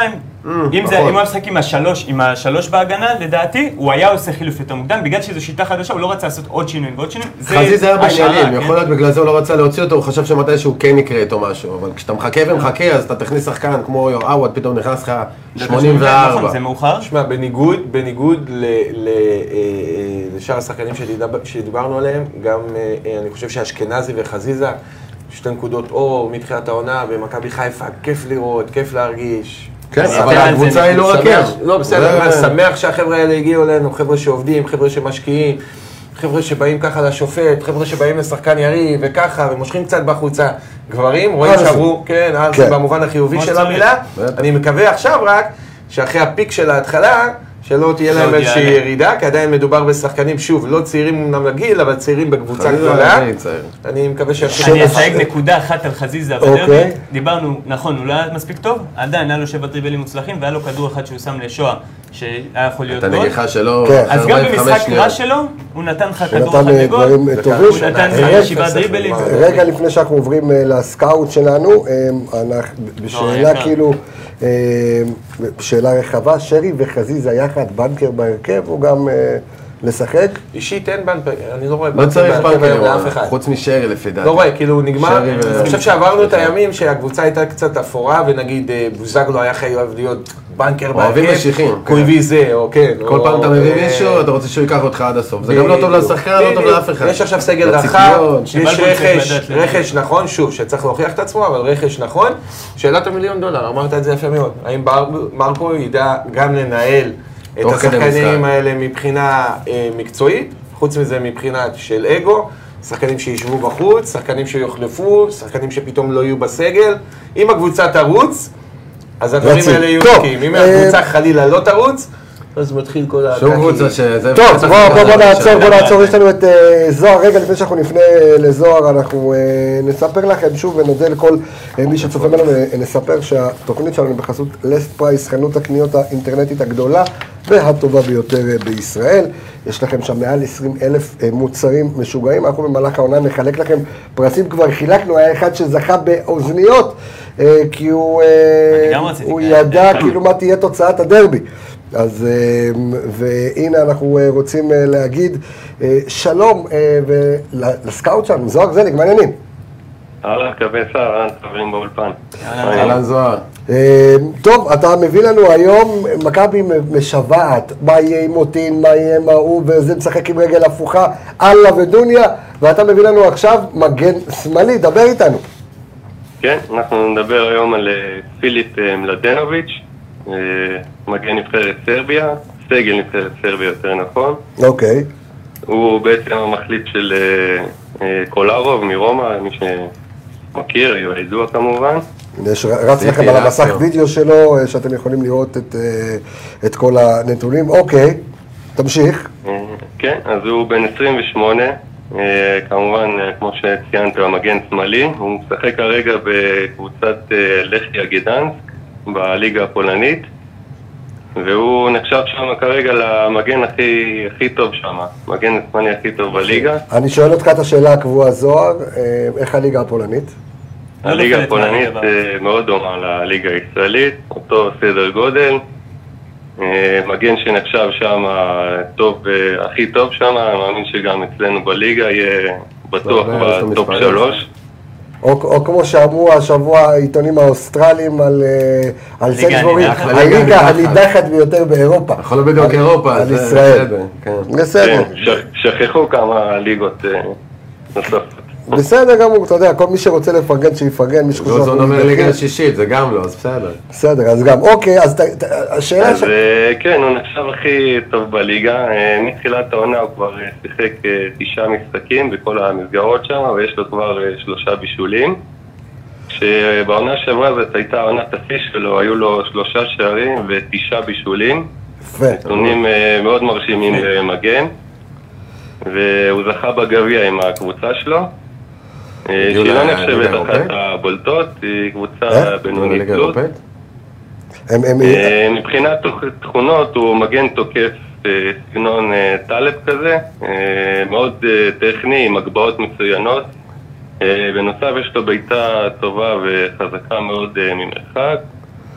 אם
נכון.
זה- אם הוא היה משחק עם השלוש, עם השלוש בהגנה, לדעתי, הוא היה עושה חילוף יותר מוקדם, בגלל שזו שיטה חדשה, הוא לא רצה לעשות עוד שינויים ועוד שינויים. זה
חזיזה היה
השערה,
בעניינים,
כן?
יכול להיות בגלל זה הוא לא רצה להוציא אותו, הוא חשב שמתישהו כן יקרה איתו משהו, אבל כשאתה מחכה ומחכה, אז אתה תכניס שחקן כמו עווד, פתאום נכנס לך
נכון,
84.
זה מאוחר.
תשמע, בניגוד, בניגוד ל, ל, אה, אה, לשאר השחקנים שדידב- שדיברנו עליהם, גם אה, אה, אני חושב שאשכנזי וחזיזה, שתי נקודות אור מתחילת העונה במכבי חיפה, כיף לראות, כיף להרגיש.
כן,
אני
אבל
שמח על זה,
הקבוצה היא לא רק
שמח-
הם.
לא,
זה-
בסדר, אני שמח שהחבר'ה האלה הגיעו אלינו, חבר'ה שעובדים, חבר'ה שמשקיעים, חבר'ה שבאים ככה לשופט, חבר'ה שבאים לשחקן יריב, וככה, ומושכים קצת בחוצה. גברים, רואים
ארסי.
שעברו, כן, ארסי
כן.
במובן החיובי
כמו
של
שצריך.
המילה.
בטח.
אני מקווה עכשיו רק, שאחרי הפיק של ההתחלה, שלא תהיה להם
עוד
איזושהי
יעלה.
ירידה, כי עדיין מדובר בשחקנים, שוב, לא צעירים אמנם לגיל, אבל צעירים בקבוצה
חזיזה
גדולה.
אני צעיר.
אני מקווה שיפשו.
אני אסייג נקודה אחת על חזיזה
אוקיי.
בדרבי. דיברנו, נכון, הוא לא היה מספיק טוב, עדיין היה לו שבע דריבלים מוצלחים, והיה לו כדור אחד שהוא שם לשואה, שהיה יכול להיות
את
גול.
הנגיחה שלו,
כן.
אז גם
45
במשחק
שניות.
רע שלו, הוא נתן לך
הוא
כדור
נתן
אחד
אה,
לגול.
דברים אה,
דקה
טובים.
הוא נתן
רגע,
לך שבעה דריבלים.
רגע לפני שאנחנו עוברים אה, לסקאוט שלנו, אה, אנחנו- בשאלה
יקר.
כאילו, אה, בשאלה רחבה, שרי וחזיזה יחד, בנקר בהרכב, או גם אה, לשחק?
אישית אין בנק, אני לא רואה
לא צריך
בהרכב היום לאף
פאנקר,
אחד.
חוץ משרי לפי דעתי.
לא רואה, כאילו נגמר,
שרי ו-
אני חושב שעברנו את הימים שהקבוצה הייתה קצת אפורה, ונגיד אה, בוזגלו היה חייב להיות בנקר
אוהבים משיחים,
כי הוא
כן.
הביא זה, או כן.
כל
או,
פעם אתה מביא
אה,
מישהו, אתה רוצה שהוא ייקח אותך עד הסוף. זה גם לא טוב
בדיוק.
לשחקן, לא טוב
בדיוק.
לאף אחד.
יש עכשיו סגל
לציפיות,
רחב, יש
שבלבול צריך
רכש,
לדעת להגיד.
רכש נכון, שוב, שצריך להוכיח את עצמו, אבל רכש נכון. שאלת המיליון דולר, אמרת את זה יפה מאוד. האם בר- מרקו ידע גם לנהל את
תוך כדי
השחקנים
משחק.
האלה מבחינה אה, מקצועית, חוץ מזה מבחינה של אגו, שחקנים שישבו בחוץ, שחקנים שיוחלפו, שחקנים שפתאום לא יהיו בסגל. אם הקבוצה תרוץ, אז הדברים
יציב.
האלה יהיו
טוב,
נקיים. אם
אה,
הקבוצה חלילה לא תרוץ, אז מתחיל כל ה...
שום קבוצה שזה...
טוב,
בטח
בוא- בוא
זה
בוא
לא
נעצור, בוא
משנה.
נעצור, יש לנו את אה, זוהר, רגע לפני שאנחנו נפנה אה, לזוהר, אנחנו אה, נספר לכם שוב ונודה לכל אה, מי שצופה בנו, אה, נספר שהתוכנית שלנו היא בחסות לסט פרייס, חנות הקניות האינטרנטית הגדולה והטובה ביותר אה, בישראל. יש לכם שם מעל 20 אלף אה, מוצרים משוגעים, אנחנו במהלך העונה נחלק לכם פרסים, כבר חילקנו, היה אחד שזכה באוזניות, אה, כי הוא, אה,
אני גם רציתי
הוא
כאלה.
ידע כאילו מה תהיה תוצאת הדרבי. אז אה, והנה אנחנו אה, רוצים אה, להגיד אה, שלום אה, ול- לסקאוט שלנו, זוהר זליג, מה העניינים?
אהלן, קווי שר, אהלן, חברים באולפן.
אהלן זוהר.
אה, טוב, אתה מביא לנו היום, מכבי משוועת, מה יהיה עם מוטין, מה יהיה עם ההוא, וזה משחק עם רגל הפוכה, אללה ודוניה, ואתה מביא לנו עכשיו מגן שמאלי, דבר איתנו.
כן, אנחנו נדבר היום על אה, פיליפ אה, מלדנוביץ', אה, מגן נבחרת סרביה, סגל נבחרת סרביה יותר נכון.
אוקיי.
הוא בעצם המחליף של אה, אה, קולרוב מרומא, מי שמכיר, ידוע כמובן.
יש, רץ לכם על המסך וידאו שלו, אה, שאתם יכולים לראות את, אה, את כל הנתונים. אוקיי, תמשיך.
אה, כן, אז הוא בן 28, אה, כמובן, אה, כמו שציינת, הוא המגן שמאלי. הוא משחק כרגע בקבוצת אה, לחיה גדנסק בליגה הפולנית, והוא נחשב שם כרגע למגן הכי, הכי טוב שם, מגן השמאלי הכי טוב בליגה.
אני שואל אותך את השאלה הקבועה, זוהר, אה, איך הליגה הפולנית?
לא
הליגה
נופלת
הפולנית
מהליגה
אה, מאוד דומה לליגה הישראלית, אותו סדר גודל. אה, מגן שנחשב שם טוב, אה, הכי טוב שם, אני מאמין שגם אצלנו בליגה יהיה בטוח
לא, לא, יש לו
בטופ
מספרים.
שלוש.
או, או כמו שאמרו השבוע העיתונים האוסטרלים על, אה, על
הליגה
סנסבורי,
הנידחת.
הליגה
הליגה
הנידחת ביותר באירופה.
יכול להיות בדיוק אירופה.
על
זה
ישראל.
בסדר, כן.
בסדר,
כן, ש- שכחו כמה ליגות אה, נוספות.
בסדר גמור, אתה יודע, כל מי שרוצה לפרגן שיפרגן, מי שחושב
גולדזון
שהוא
לא, אומר
נדחה.
ליגה השישית, זה גם לא, אז בסדר.
בסדר, אז גם, אוקיי, אז ת- ת- השאלה ש...
אז אה, כן, הוא נחשב הכי טוב בליגה. אה, מתחילת העונה הוא כבר אה, שיחק אה, תשעה משחקים בכל המסגרות שם, ויש לו כבר אה, שלושה בישולים. שבעונה שעברה זאת הייתה עונת השיא שלו, היו לו שלושה שערים ותשעה בישולים.
יפה.
נתונים אה, מאוד מרשימים למגן, והוא זכה בגביע עם הקבוצה שלו, אה,
הגיעו
שהיא לא
לליגה
נחשבת אחת
האירופאית?
הבולטות, היא
אה?
קבוצה בינונית
בליגה
פלוס.
האירופאית?
הם- הם-
אה, מבחינת תוכ- תכונות הוא מגן תוקף אה, סגנון אה, טלב כזה, אה, מאוד אה, טכני, עם הגבהות מצוינות. אה, בנוסף יש לו בעיטה טובה וחזקה מאוד אה, ממרחק.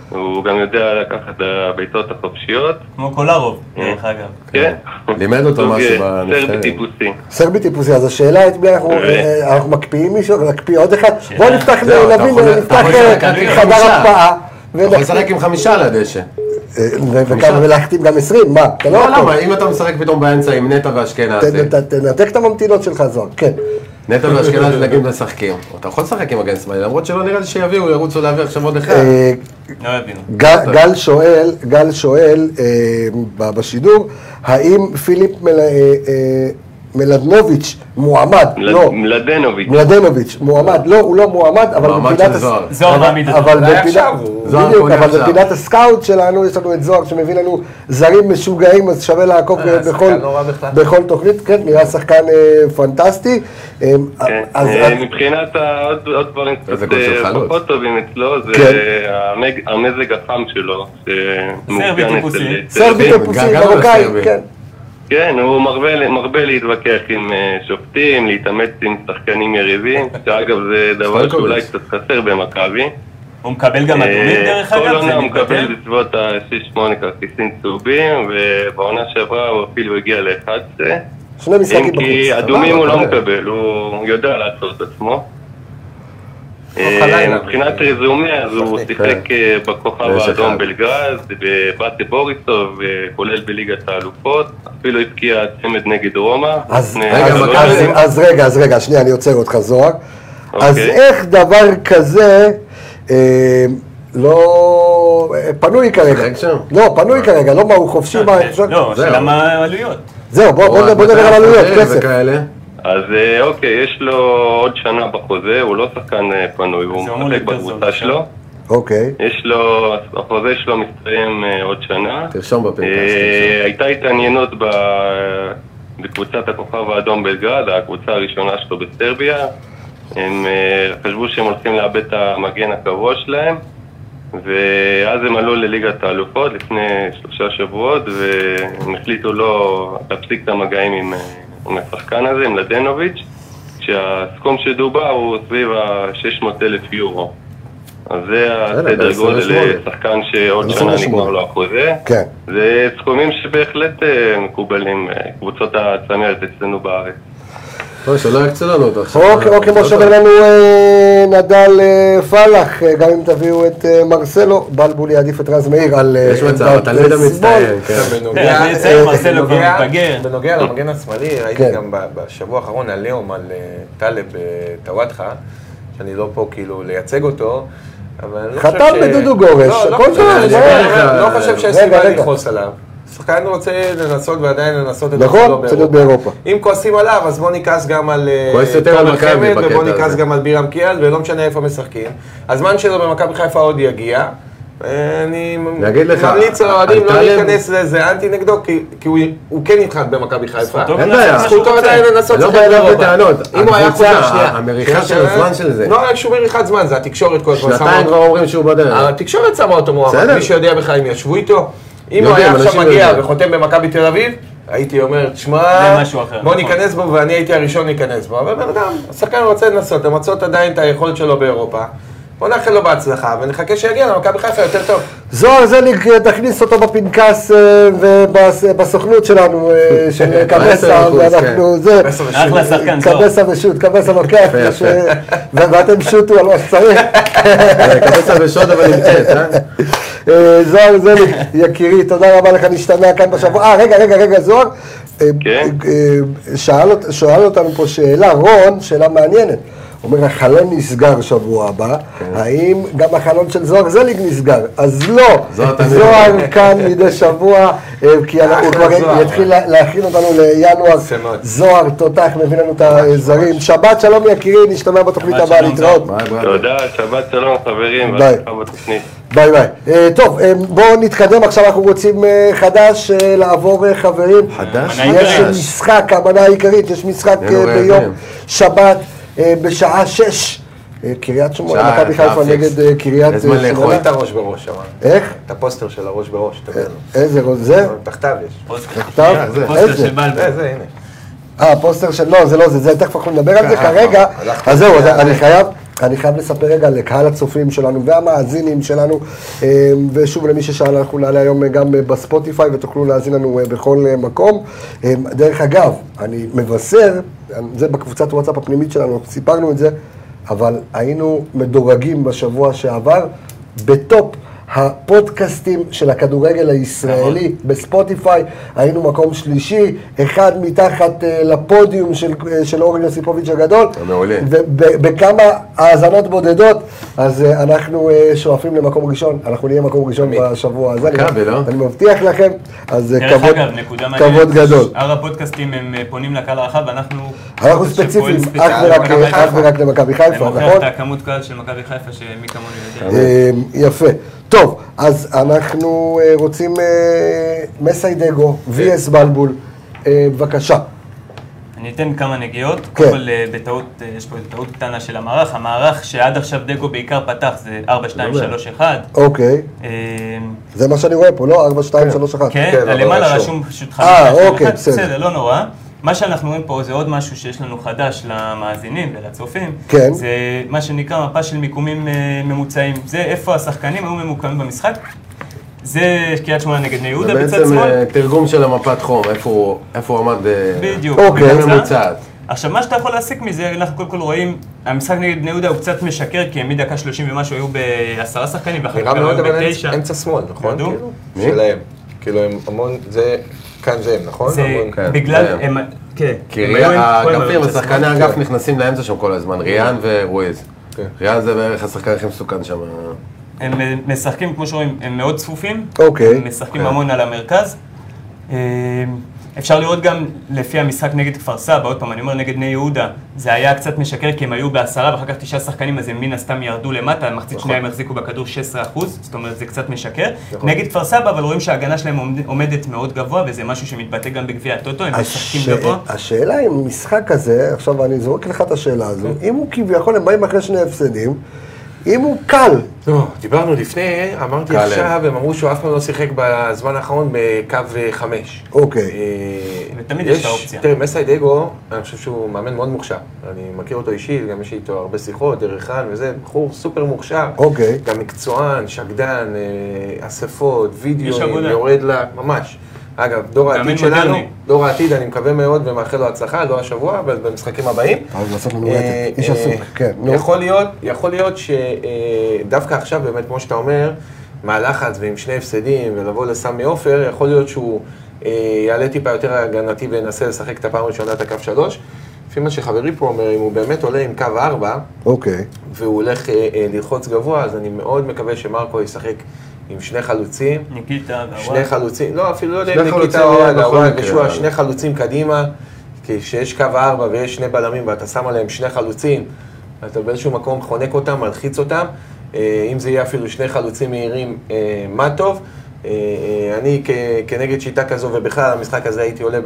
הוא גם יודע לקחת את הבעיטות החופשיות.
כמו קולרוב, דרך אגב.
כן.
לימד אותו
סוג, אה,
משהו
סרבי
בנבחרת.
טיפוסי.
סרבי טיפוסי, אז השאלה את מי אנחנו
אה.
אה, אנחנו מקפיאים מישהו, נקפיא עוד אחד? בוא נפתח,
זהו, אתה
נבין,
יכול- אתה
נפתח
יכול
אה,
לשחק עם
חדר
חמישה.
הקפאה.
אתה יכול
ונחתים-
לשחק עם חמישה על הדשא.
אה, ו- וכמה- ולהחתים גם 20, מה? אתה לא
לא,
יכול.
למה? אם אתה משחק פתאום באמצע עם נטע ואשכנזי,
ת- ת- תנתק את הממתינות שלך, זוהר, כן.
נטע ואשכנזי נגיד משחקים. אתה יכול לשחק עם מגן שמאלי, למרות שלא נראה לי שיביאו, ירוצו להביא עכשיו עוד אחד.
אה,
לא הבינו.
גל, גל שואל, גל שואל אה, ב- בשידור, האם פיליפ מל, אה, אה, מלדנוביץ' מועמד?
מל-
לא.
מלדנוביץ'.
מלדנוביץ' מועמד, לא, הוא לא מועמד, אבל
מועמד
בפינת
של
הס-
זוהר.
זוהר
אבל-
מעמיד אותו.
אבל
אולי
בפינת-
עכשיו הוא-
זוהר
בדיוק,
קונה
אבל
עכשיו.
בפינת הסקאוט שלנו יש לנו את זוהר שמביא לנו זרים משוגעים, אז שווה לעקוב
אה, שחקן
בכל-
לא רע בכלל.
בכל תוכנית, כן, נראה שחקן אה, פנטסטי. אה,
כן.
אז-
אה,
אז-
מבחינת העוד עוד דברים קצת
איזה גול של
אה,
חלוץ.
פחות טובים אצלו, זה
כן.
המג- המזג החם שלו. שמאופיין
סרבי
אצל-
טיפוסי.
אצל
סרבי
רבים.
טיפוסי,
געגענו
מרוקאי,
לסרבי.
כן.
כן, הוא מרבה, מרבה להתווכח עם אה, שופטים, להתאמץ עם שחקנים יריבים, שאגב זה דבר שאולי
סטויקוביץ'.
קצת חסר במכבי.
הוא מקבל גם אדומים
אה,
דרך
כל
אגב? כן?
עונה
זה
הוא
מתבטל?
מקבל בסביבות ה-6-8 כרטיסים צהובים, ובעונה שעברה הוא אפילו הגיע ל-11.
שני משחקים
אם
בחוץ.
כי
סבבה,
אדומים הוא לא
מקבל.
מקבל, הוא יודע לעצור את עצמו.
לא,
אה,
חלילה.
מבחינת רזומה, אז הוא
שחקן.
שיחק אה, בכוכב
ויש
האדום
אחד.
בלגרד, בבאטה בוריסוב, אה, כולל בליגת האלופות, אפילו הבקיע צמד נגד רומא.
אז,
לפני
אז,
שלוש
אז,
שנים.
אז רגע, אז רגע, שנייה, אני עוצר אותך זוהר.
אוקיי.
אז איך דבר כזה אה, לא... אה, פנוי כרגע.
שיחק שם?
לא, פנוי כרגע, לא מה הוא חופשי, מה...
לא,
זהו.
השאלה מה העלויות.
זהו, בוא-
לא,
בוא נדבר- בוא נדבר על עלויות, כסף.
וכאלה.
אז אה, אוקיי, יש לו עוד שנה בחוזה, הוא לא שחקן אה, פנוי, הוא
זה אמור
משחק
להיות יותר זול,
בקבוצה שלו.
אוקיי.
יש לו, החוזה שלו מסתיים אה, עוד שנה.
תרשום בפנקס.
אה, הייתה התעניינות ב... בקבוצת הכוכב האדום בלגרד, הקבוצה הראשונה שלו בסרביה. הם אה, חשבו שהם הולכים לאבד את המגן הקבוע שלהם, ואז הם עלו לליגת האלופות לפני שלושה שבועות, והם החליטו לא להפסיק את המגעים עם, אה, עם השחקן הזה, עם לדנוביץ', כשהסכום שדובר הוא סביב ה-600 אלף יורו. אז זה הסדר
ב-28.
גודל לשחקן שעוד שנה
28.
נגמר לו החוזה.
כן.
זה סכומים שבהחלט אה, מקובלים, אה, קבוצות הצמרת אצלנו בארץ.
טוב, שלא יקצו לנו אותו עכשיו.
אוקיי, אוקיי, כמו
לא,
שאומר לנו אה, נדל אה, פלח, אה, גם אם תביאו את אה, מרסלו, בלבול יעדיף את רז מאיר על... אה,
יש מצב,
עמדת
התלמיד
שמאל.
המצטיין, כן.
כן,
בנוגע-
אבל לציין,
לא
מרסלו כבר
בנוגע-
מתבגר.
בנוגע למגן השמאלי, ראיתי
כן.
גם ב- בשבוע האחרון עליהום על אה, טלב אה, טוואטחה, שאני לא פה כאילו לייצג אותו, אבל אני לא חושב
חתם
ש...
בדודו גורש,
לא, לא
הכל
חושב-
טוב,
אני
זה-
אומר, לא חושב שיש
רגע,
סיבה
רגע.
לכעוס עליו. שחקן רוצה לנסות ועדיין לנסות את
נכון,
עצמו
צריך להיות באירופה.
אם כועסים עליו, אז בוא נכעס גם על אה,
כועס יותר על
תומר
מכבי
חמד,
בקטע
ובוא נכעס
הזה.
גם על בירם קיאל, ולא משנה איפה משחקים. הזמן שלו במכבי חיפה עוד יגיע. אה, אני
אני אגיד לך,
ממליץ לאוהדים
על
לא
טלב-
להיכנס לזה, אנטי נגדו, כי- כי הוא- הוא כן יתחת במכבי חיפה.
זכותו
אין בעיה.
לעשות מה שהוא
זכותו
רוצה.
עדיין לנסות
אני לא
לשחק
בא אליו
באירופה.
בטענות.
אם הוא היה חוזר,
הקבוצה,
שנייה.
המריחה
שנייה,
של
שנייה.
הזמן של זה.
לא רק שהוא מריחת זמן, זה התקשורת כל הזמן. שמה
שנתיים
אותו.
כבר אומרים שהוא
אה,
אה, בדרך.
התקשורת שמה אותו מועמד,
בסדר.
מי שיודע בכלל אם ישבו איתו. אם הוא
יודעים,
היה עכשיו
אנשים
מגיע
יודעים.
וחותם במכבי תל אביב, הייתי אומר, תשמע,
זה משהו אחר,
בוא
נכון.
ניכנס בו ואני הייתי הראשון להיכנס בו. אבל בן אדם, השחקן רוצה לנסות, למצות עדיין את היכולת שלו באירופה. בוא נאחל לו בהצלחה ונחכה שיגיע למכבי חיפה יותר טוב.
זוהר זליג, אה, תכניס אותו בפנקס אה, ובס- בסוכנות שלנו, אה, של קבסה,
אחוז, כן.
ואנחנו זה.
בסוף יש-
אחלה שחקן, זוהר.
קבסה ושות, קבסה לוקח,
יפה,
יש, אה, ו- ואתם שוטו על מה שצריך.
קבוצה בשוד אבל נמצאת, אה?
אה, זוהר זליג, יקירי, תודה רבה לך, נשתמע כאן בשבוע. אה, רגע, רגע, רגע, זוהר. אה,
כן.
אה, שאל אות- שואל אותנו פה שאלה, רון, שאלה מעניינת. אומר, החלון נסגר שבוע הבא, האם גם החלון של זוהר זליג נסגר? אז לא,
זוהר תמיד.
זוהר כאן מדי שבוע, אה, כי הוא
אחלה
כבר
זוהר.
יתחיל לה- להכין אותנו לינואר.
יפה מאוד.
זוהר, תותח, מביא לנו את הזרים. שבת שלום יקירי, נשתמע בתוכנית
שבת
הבאה,
שלום,
להתראות.
ביי, ביי.
תודה, שבת שלום חברים,
ביי.
בהצלחה בתוכנית.
ביי ביי. אה, טוב, אה, בואו נתקדם עכשיו, אנחנו רוצים אה, חדש אה, לעבור אה, חברים.
חדש?
מנה
יש
עיקרית.
משחק, המנה העיקרית, יש משחק
נהנו
אה,
רעבים.
ביום שבת אה, בשעה שש. אה, קריית שמונה,
שעה,
מכבי חיפה
שעה פיקס.
נגד אה, קריית
אין זמן
אה,
לאכול. אה.
שמונה.
רואים את הראש בראש שם.
איך?
את הפוסטר של הראש בראש, תביא לנו.
איזה רוז אה, זה?
תחתיו יש.
כתב?
שנייה, זה.
פוסטר
איזה?
של בלבול.
זה, זה, הנה.
אה, פוסטר של... לא, זה לא זה, זה תכף אנחנו נדבר
אה,
על זה
ככה,
כרגע.
הלכתי.
אז זהו, אז אני חייב... אני חייב לספר רגע לקהל הצופים שלנו והמאזינים שלנו, אה, ושוב למי ששאל, אנחנו נעלה היום אה, גם אה, בספוטיפיי ותוכלו להאזין לנו אה, בכל אה, מקום. אה, דרך אגב, אני מבשר, אה, זה בקבוצת וואטסאפ הפנימית שלנו, סיפרנו את זה, אבל היינו מדורגים בשבוע שעבר בטופ הפודקאסטים של הכדורגל הישראלי בספוטיפיי, היינו מקום שלישי, אחד מתחת אה, לפודיום של, אה, של אורן יוסיפוביץ' הגדול.
מעולה.
ובכמה האזנות בודדות, אז אה, אנחנו אה, שואפים למקום ראשון, אנחנו נהיה מקום ראשון בשבוע הזה. אני-
מכבי, לא?
אני מבטיח לכם, אז אה,
דרך
כבוד-
אגב, נקודה מעניינת.
כבוד גדול.
שאר הפודקאסטים הם אה, פונים לקהל הרחב, ואנחנו...
אנחנו
פודקאסט
ספציפיים,
שפועל
אך
ספציפית
ורק- אה,
למכבי
אך
חיפה.
ורק למכבי חיפה,
אני
נכון?
מוכיח את הכמות קהל של מכבי חיפה, שמי כמוני יודע.
אה, יפה. טוב, אז אנחנו אה, רוצים אה,
כן.
מסיידגו, VS בלבול, אה, בבקשה.
אני אתן כמה נגיעות.
כן.
קודם כל, אה, בטעות, אה, יש פה טעות קטנה של המערך. המערך שעד עכשיו דגו בעיקר פתח
לא
זה 4-2-3-1.
אוקיי,
אה,
זה מה שאני רואה פה, לא? 4, 2, 3, 1.
כן,
כן, אבל
למעלה
רשום.
רשום פשוט חמש.
אה,
שתיים,
אוקיי,
אחת.
בסדר.
בסדר, לא נורא. מה שאנחנו רואים פה זה עוד משהו שיש לנו חדש למאזינים ולצופים.
כן.
זה מה שנקרא מפה של מיקומים אה, ממוצעים. זה איפה השחקנים היו ממוקמים במשחק. זה קריית שמונה נגד בני
זה
יהודה בצד
בעצם
שמאל.
אה, תרגום של המפת חום, איפה הוא- איפה הוא עמד... אה,
בדיוק.
אוקיי.
ממוצע.
ממוצעת.
עכשיו, מה שאתה יכול להסיק מזה, אנחנו קודם כל רואים, המשחק נגד בני יהודה הוא קצת משקר, כי הם מדקה 30 ומשהו היו בעשרה שחקנים, ואחר כך
נראה מאוד
היו
אבל
בתשע.
אמצע- אמצע שמאל, נכון?
ידעו?
כאילו?
מי?
שלהם. כאילו הם המון, זה, כאן זה הם, נכון?
זה
המון-
כן.
בגלל,
זה-
הם... כן.
כי
הם
רי-
היו עם- כל הזמן
האגפים,
באמצע שמאל.
השחקני האגף נכנסים לאמצע שם כל הזמן, ריאן ורואיז.
כן.
ריאן זה בערך השחקן הכי מסוכן שם.
הם אה, משחקים, כמו שרואים, הם מאוד צפופים.
אוקיי.
הם משחקים המון על המרכז. אה, אפשר לראות גם לפי המשחק נגד כפר סבא, עוד פעם, אני אומר נגד בני יהודה, זה היה קצת משקר כי הם היו בעשרה ואחר כך תשעה שחקנים, אז הם מן הסתם ירדו למטה, מחצית שנייה הם החזיקו בכדור 16%, זאת אומרת זה קצת משקר. נגד כפר סבא, אבל רואים שההגנה שלהם עומד- עומדת מאוד גבוה, וזה משהו שמתבטא גם בגביע הטוטו,
אה,
הם
הש-
משחקים גבוה.
השאלה אם משחק כזה, עכשיו אני זורק לך את השאלה הזו, אם הוא כביכול, הם באים אחרי שני הפסדים, אם הוא קל,
לא, דיברנו לפני, אמרתי
קלר.
עכשיו, הם אמרו שהוא אף פעם לא שיחק בזמן האחרון בקו אה, חמש.
אוקיי.
אה,
ותמיד יש את האופציה.
תראה, מסי דגו, אני חושב שהוא מאמן מאוד מוכשר. אני מכיר אותו אישית, גם יש איתו הרבה שיחות, דרך רן וזה, בחור סופר מוכשר.
אוקיי.
גם מקצוען, שקדן, אה, אספות,
יש
וידאו,
עבודה.
יורד לה, ממש. אגב, דור
מאמן
העתיד שלנו,
מודרני.
דור העתיד, אני מקווה מאוד ומאחל לו הצלחה, לא השבוע, אבל במשחקים הבאים.
אבל אה, בסוף מנורטת. איש
אה,
עסוק,
אה,
כן, נו.
יכול להיות, יכול להיות שדווקא עכשיו, באמת, כמו שאתה אומר, מהלחץ ועם שני הפסדים, ולבוא לסמי עופר, יכול להיות שהוא אה, יעלה טיפה יותר הגנתי וינסה לשחק את הפעם הראשונה את הקו שלוש. לפי מה שחברי פה אומר, אם הוא באמת עולה עם קו ארבע,
אוקיי.
והוא הולך אה, אה, ללחוץ גבוה, אז אני מאוד מקווה שמרקו ישחק עם שני חלוצים.
ניקיטה והוואט.
שני חלוצים, לא, אפילו לא יודע
שני
אם
חלוצים
ניקיטה או
היה בכל
אלאוואן,
מקרה,
ושועה,
אבל-
שני חלוצים קדימה, כי כשיש קו ארבע ויש שני בלמים ואתה שם עליהם שני חלוצים, אתה באיזשהו מקום חונק אותם, מלחיץ אותם. אה, אם זה יהיה אפילו שני חלוצים מהירים, אה, מה טוב. אה, אה, אני כ- כנגד שיטה כזו, ובכלל המשחק הזה הייתי עולה ב-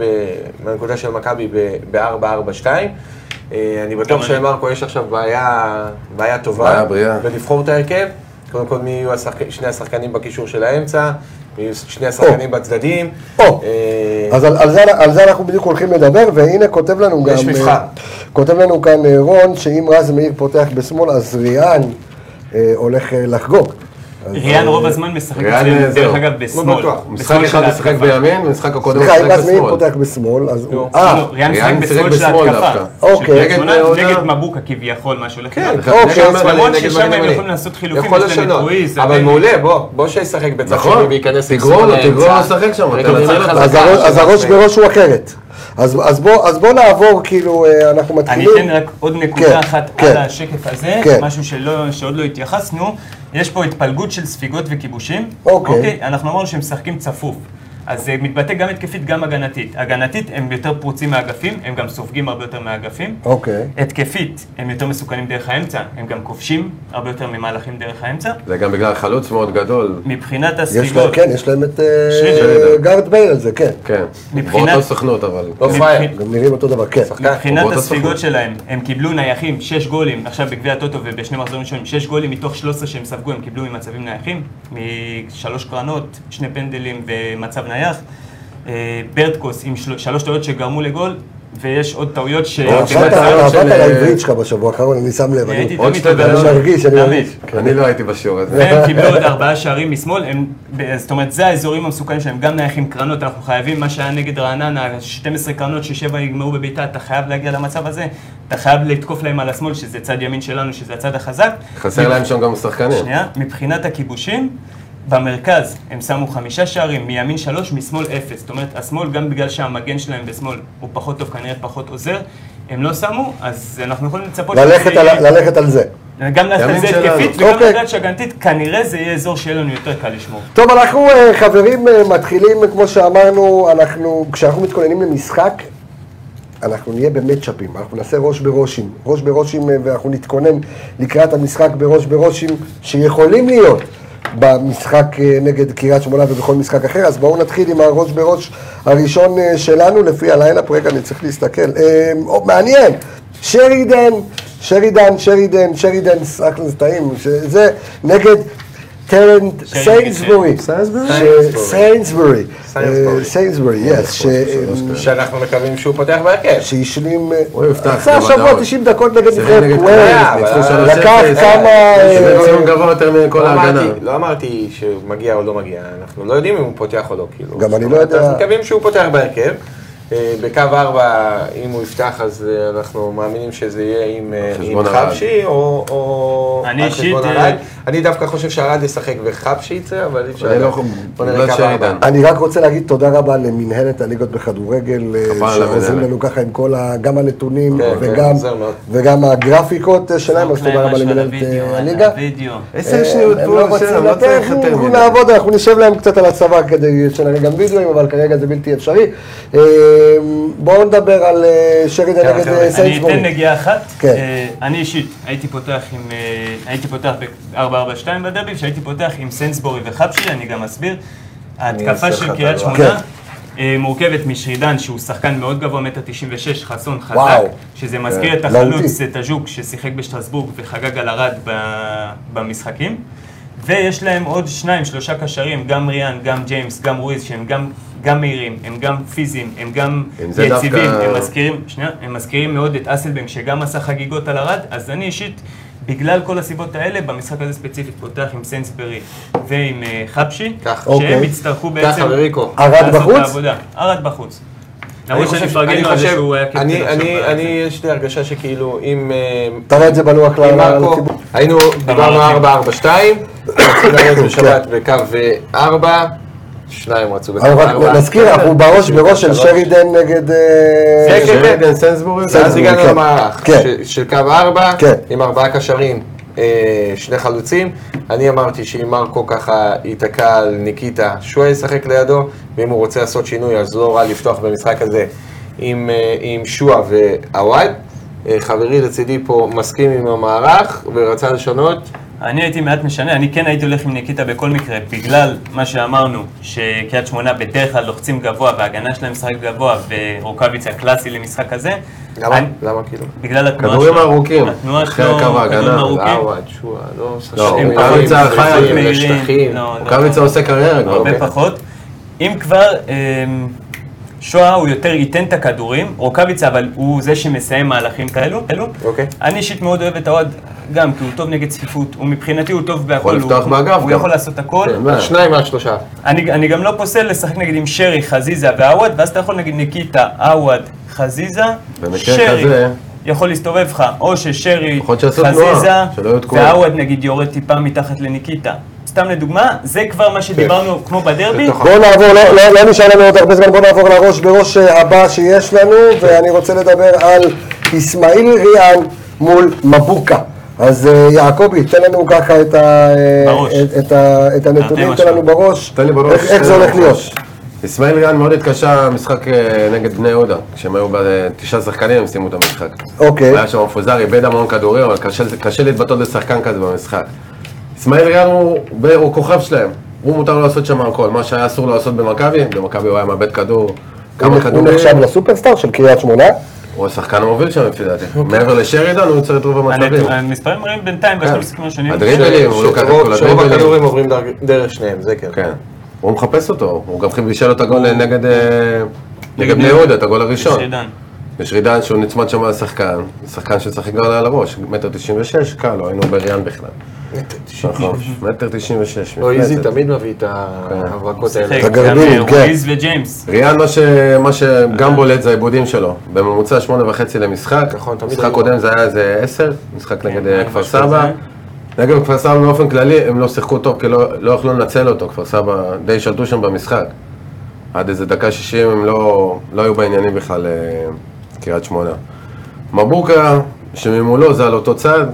מהנקודה של מכבי ב-4-4-2. אה, אני
גם
בטוח
אני.
שלמרקו יש עכשיו בעיה, בעיה טובה.
בעיה בריאה.
ולבחור את ההרכב. קודם כל מי יהיו השחק... שני השחקנים בקישור של האמצע, מי יהיו שני השחקנים בצדדים.
או.
אה,
אז על, על, זה, על זה אנחנו בדיוק הולכים לדבר, והנה כותב לנו גם...
יש מבחן.
אה, כותב לנו כאן אה, רון, שאם רז מאיר פותח בשמאל, אז ריאן אה, הולך אה, לחגוג. אז,
ריאן רוב הזמן משחק
ריאן, אה,
אצלנו,
זהו. לא
דרך אגב, בשמאל.
בטוח.
משחק
בשמאל של
אחד הוא שיחק
ההתקפה.
בימין, במשחק הקודם הוא
סליחה, אם
שיחק
רז מאיר
לא, בשמאל.
פותח בשמאל, אז הוא...
לא,
אה,
ריאן
ריאן
משחק
משחק
בשמאל של
בשמאל
ההתקפה. אה,
דווקא.
של
אוקיי.
קריית שמונה,
נגד עונה-
נגד מבוקה כביכול, משהו
כן,
לכאן.
אוקיי.
אוקיי,
נגד
למרות
נגד
ששם הם
מגן ימני.
יכולים לעשות חילופים,
יכול
יש להם את
לשנות.
לואיס,
לא, אבל
הבן.
מעולה, בוא, בוא שישחק בצד
נכון.
שני וייכנס
תגרור
לשמאל
לו,
לאמצע.
תגרור לו לשחק שם,
רגל
תנצל
ימין
אותו.
חזקה
אז, הראש, אז
של
הראש
עצמי.
בראש הוא אחרת. אז, אז, בוא, אז בוא נעבור, כאילו, אה, אנחנו
אני
מתחילים.
אתן רק עוד
כן,
נקודה אחת
כן.
על השקף הזה,
כן.
משהו שלא- שעוד לא התייחסנו. יש פה התפלגות של ספיגות וכיבושים.
אוקיי.
אנחנו אמרנו שהם משחקים צפוף. אז זה מתבטא גם התקפית, גם הגנתית. הגנתית הם יותר פרוצים מהאגפים, הם גם סופגים הרבה יותר מהאגפים.
אוקיי.
התקפית, הם יותר מסוכנים דרך האמצע, הם גם כובשים הרבה יותר ממהלכים דרך האמצע.
זה גם בגלל חלוץ מאוד גדול.
מבחינת
יש להם,
הספיגות,
כן, יש להם את אה,
שרידר.
גארד בייל על זה, כן.
כן.
מבחינת- אוקיי.
באותו סוכנות אבל.
לא
כן.
פראייר.
גם נראים אותו דבר, כן.
מבחינת
חובות
הספיגות
הסוכנות.
שלהם, הם קיבלו נייחים, 6 גולים, עכשיו בגביע הטוטו ובשני מחזורים ראשונים, 6 גולים מתוך 13 שהם ספגו, הם קיבלו ממצבים נייחים, משלוש קרנות, שני פנדלים ומצב נייח. אה, ברטקוס עם של- שלוש טעויות שגרמו לגעול, ויש עוד טעויות ש... אה,
אבל
עבדת
אוקיי,
עבדת
מטרה של-
על העברית שלך בשבוע האחרון, אני שם לב. אני-
הייתי
עוד
תמיד
שתי
עובד
דקות.
על
אני
זה.
מרגיש, אני
תמיד.
מרגיש.
אני לא הייתי בשיעור הזה.
והם קיבלו עוד ארבעה שערים משמאל, הם, זאת אומרת, זה האזורים המסוכנים שלהם, גם נייחים קרנות, אנחנו חייבים, מה שהיה נגד רעננה, 12 קרנות ששבע נגמרו בבעיטה, אתה חייב להגיע למצב הזה, אתה חייב לתקוף להם על השמאל, שזה צד ימין שלנו, שזה הצד החזק.
חסר להם שם גם שחקנים.
שנייה, מבחינת הכיבושים, במרכז הם שמו חמישה שערים, מימין שלוש, משמאל אפס. זאת אומרת, השמאל, גם בגלל שהמגן שלהם בשמאל הוא פחות טוב, כנראה פחות עוזר, הם לא שמו, אז אנחנו יכולים לצפות...
ללכת
שזה
על-
יהיה-
ללכת על זה.
גם לעשות את זה
ימין שלנו.
התקפית וגם
אוקיי.
לדעת שהגנתית, כנראה זה יהיה אזור שיהיה לנו יותר קל לשמור.
טוב, אנחנו אה, חברים אה, מתחילים, אה, כמו שאמרנו, אנחנו, כשאנחנו מתכוננים למשחק, אנחנו נהיה במצ'אפים, אנחנו נעשה ראש בראשים, ראש בראשים, אה, ואנחנו נתכונן לקראת המשחק בראש בראשים שיכולים להיות במשחק אה, נגד קריית שמונה ובכל משחק אחר, אז בואו נתחיל עם הראש בראש הראשון אה, שלנו, לפי הלילה, פה רגע אני צריך להסתכל, אה, או, מעניין, שרידן, שרידן, שרידן, שרידן, אחלה זה טעים, זה נגד טרנט
שרידן,
סיינסבורי,
סיינסבורי.
כן. סיינסבורי, אה,
סיינסבורי.
סיינסבורי, יס,
שאנחנו מקווים שהוא פותח בהרכב.
שהשלים... אה,
הוא יפתח
עשה
גם
השבוע
בדרום.
90 דקות נגד
שיחק
נבחרת
נגד
קוויירס.
קוויירס, ניצחו
אבל-
3-0.
אה, לקח כמה,
זה
אה,
ציון גבוה יותר מכל
לא
ההגנה.
אמרתי- לא אמרתי שמגיע או לא מגיע, אנחנו לא יודעים אם הוא פותח או לא, כאילו.
גם אני
זאת
לא
אומרת,
יודע.
אנחנו מקווים שהוא פותח בהרכב. אה, בקו ארבע, אם הוא יפתח, אז אה, אנחנו מאמינים שזה יהיה עם, אה, עם
חשבון ארד.
חבשי, או... או
אני
על חשבון
אישית,
ארד.
אה,
אני דווקא חושב שארד ישחק וחבשי יצא, אבל אי אפשר...
אני לא
לדעת.
יכול-
בוא נראה
לא
קו
שרידן.
ארבע.
אני רק רוצה להגיד תודה רבה למנהלת הליגות בכדורגל, אה,
כפרה על
שעוזרים
המנהלת.
לנו ככה עם כל ה... גם הנתונים
כן, כן,
וגם-
עוזר מאוד.
וגם הגרפיקות אה, שלהם, אז
אוקיי,
תודה רבה למנהלת אה, הליגה.
עשר
הם לא רוצים לתת, אנחנו נעבוד, אנחנו נשב להם קצת על הצבא כדי שנראה גם וידאוים, אבל כרגע זה בלתי אפשרי. אה, בואו נדבר על אה, שרידן
כן,
נגד
חבר'ה,
אה,
אני
אני אתן
סיינסבורי.
נגיעה אחת.
כן.
אה, אני אישית הייתי פותח עם... אה, הייתי פותח ב-442 בדרבי, כשהייתי פותח עם סנסבורי וחבשי, אני גם אסביר. ההתקפה
אעשה לך
של
את
קריית
כן.
הלוח.
שמונה, אה, מורכבת משרידן, שהוא שחקן מאוד גבוה, מטר 96, חסון חזק,
וואו.
שזה
אה,
מזכיר את
מהותי.
החלוץ, את הז'וק, ששיחק בשטרסבורג וחגג על ערד ב- במשחקים. ויש להם עוד שניים, שלושה קשרים, גם ריאן, גם ג'יימס, גם רויז, שהם גם, גם מהירים, הם גם פיזיים, הם גם
אם זה
יציבים,
דווקא-
הם מזכירים, שנייה, הם מזכירים מאוד את אסלבנק, שגם עשה חגיגות על ערד, אז אני אישית, בגלל כל הסיבות האלה, במשחק הזה ספציפית פותח עם סיינסברי ועם אה, חבשי,
כך,
שהם
אוקיי.
יצטרכו
ככה,
בעצם...
וריקו.
ערד
לעשות את
בחוץ?
העבודה. ערד בחוץ.
אני
למרות
חושב-
שנפרגנו
אני
על זה
חושב-
שהוא היה קפטן
אני-
עכשיו
אני-
בארץ.
אני, יש לי הרגשה שכאילו, אם... אה,
תראה את זה בלוח
עם
ל-
מרקו,
לציבור.
היינו, דיברנו 442, רצינו לרדת בשבת
כן.
בקו 4, שניים רצו בקו
אבל
4.
רק נזכיר,
כן,
אנחנו בראש בראש של שרידן נגד... אה,
כן, כן, כן.
שרידן סנסבורי?
ואז הגענו
כן.
למערך
כן.
ש- של קו 4,
כן.
עם ארבעה קשרים, אה, שני חלוצים. אני אמרתי שאם מרקו ככה ייתקע על ניקיטה, שהוא ישחק לידו, ואם הוא רוצה לעשות שינוי, אז לא רע לפתוח במשחק הזה עם, אה, עם שועה ועוואד. אה, חברי לצידי פה מסכים עם המערך ורצה לשנות.
אני הייתי מעט משנה, אני כן הייתי הולך עם ניקיטה בכל מקרה, בגלל מה שאמרנו, שקריית שמונה בדרך כלל לוחצים גבוה וההגנה שלהם משחק גבוה, ורוקאביץ' הקלאסי למשחק הזה.
למה?
אני-
למה כאילו?
בגלל התנועה שלו.
כדורים ארוכים.
התנועה
אחרי
שלו,
הקו
כדורים
ההגנה. אה,
ארוכים.
עוואד, שועה, לא...
אוקיי. לא,
שחקנים
רוקאביצה
מהירים,
חי על
מהירים,
מהירים,
לשטחים.
לא, לא.
רוקאביצה עושה קריירה כבר. כן?
הרבה
אוקיי.
פחות. אם כבר, אמ, שואה הוא יותר ייתן את הכדורים, רוקאביצה אבל הוא זה שמסיים מהלכים כאלו. אלו.
אוקיי.
אני אישית מאוד אוהב את האוהד גם, כי הוא טוב נגד צפיפות, הוא מבחינתי הוא טוב בהכל. הוא-
לפתוח באגף
הוא
גם.
יכול לעשות הכל.
כן, מה?
שניים מהשלושה.
אני, אני גם לא פוסל לשחק נגיד עם שרי, חזיזה ועווד, ואז אתה יכול נגיד ניקיטה, עווד, חזיזה,
במקרה
שרי.
כזה-
יכול להסתובב לך, או ששרי,
יכול להיות שיעשו
חזיזה,
תנועה, שלא יהיו תקועים.
ועווד נגיד יורד טיפה מתחת לניקיטה. סתם לדוגמה, זה כבר מה שדיברנו
כן.
כמו בדרבי,
בתוך
בואו נעבור, לא- לא- לא נשאר לנו עוד הרבה זמן, בואו נעבור לראש בראש אה, הבא שיש לנו,
כן.
ואני רוצה לדבר על אסמאעיל ריאן מול מבוקה. אז אה, יעקבי, תן לנו ככה את ה- אה,
בראש.
את- את ה-
אה,
את הנתונים,
תרתי
תן לנו
משמע.
בראש.
תן לי בראש.
איך- איך זה הולך להיות?
אסמאעיל ריאן מאוד התקשה במשחק אה, נגד בני יהודה. כשהם היו בתשעה שחקנים הם סיימו את המשחק.
אוקיי.
היה שם מפוזר, איבד המון כדורים, אבל קשה, קשה להתבטא לשחקן כזה במשחק. אסמאעיל ריאן הוא, הוא כוכב שלהם. הוא מותר לו לעשות שם הכל. מה שהיה אסור לו לעשות במכבי, במכבי הוא היה מאבד כדור. כמה
הוא
כדורים,
נחשב לסופרסטאר של קריית שמונה?
הוא השחקן המוביל שם לפי דעתי.
אוקיי.
מעבר לשרידן הוא יוצר את רוב המצבים. כן.
הנתונים- המספרים מראים בינתיים, בשלוש המשחקים השונים,
הדריבלים, הוא לוקח את כל
שרוב שרוב
הדריבלים.
הכדורים עוברים דרך- דרך שניהם, זה כן.
כן. הוא מחפש אותו, הוא גם חיבל לו את הגול נגד אה, נגד בני יהודה, את הגול הראשון.
שרידן.
יש רידן שהוא נצמד שם לשחקן, שחקן ששחק כבר על הראש, מטר תשעים ושש, קל, לא היינו בריאן בכלל. נכון, מטר תשעים ושש.
לא, איזי
מפלצת.
תמיד מביא
כן.
את ההברקות האלה.
שיחק, גם
הגרבינים, כן.
רויז וג'יימס.
ריאן, מה, ש... מה שגם בולט זה העיבודים שלו, בממוצע שמונה וחצי למשחק,
נכון, תמיד
משחק
היו.
קודם זה היה איזה עשר, משחק נגד אה,
משהו
כפר סבא.
כזה.
נגד כפר סבא באופן כללי, הם לא שיחקו טוב כי לא, לא יכלו לנצל אותו, כפר סבא די שלטו שם במשחק. עד איזה דקה שישים הם לא, לא היו בעניינים בכלל אה, קריית שמונה. מבוקה, שממולו זה על אותו צד,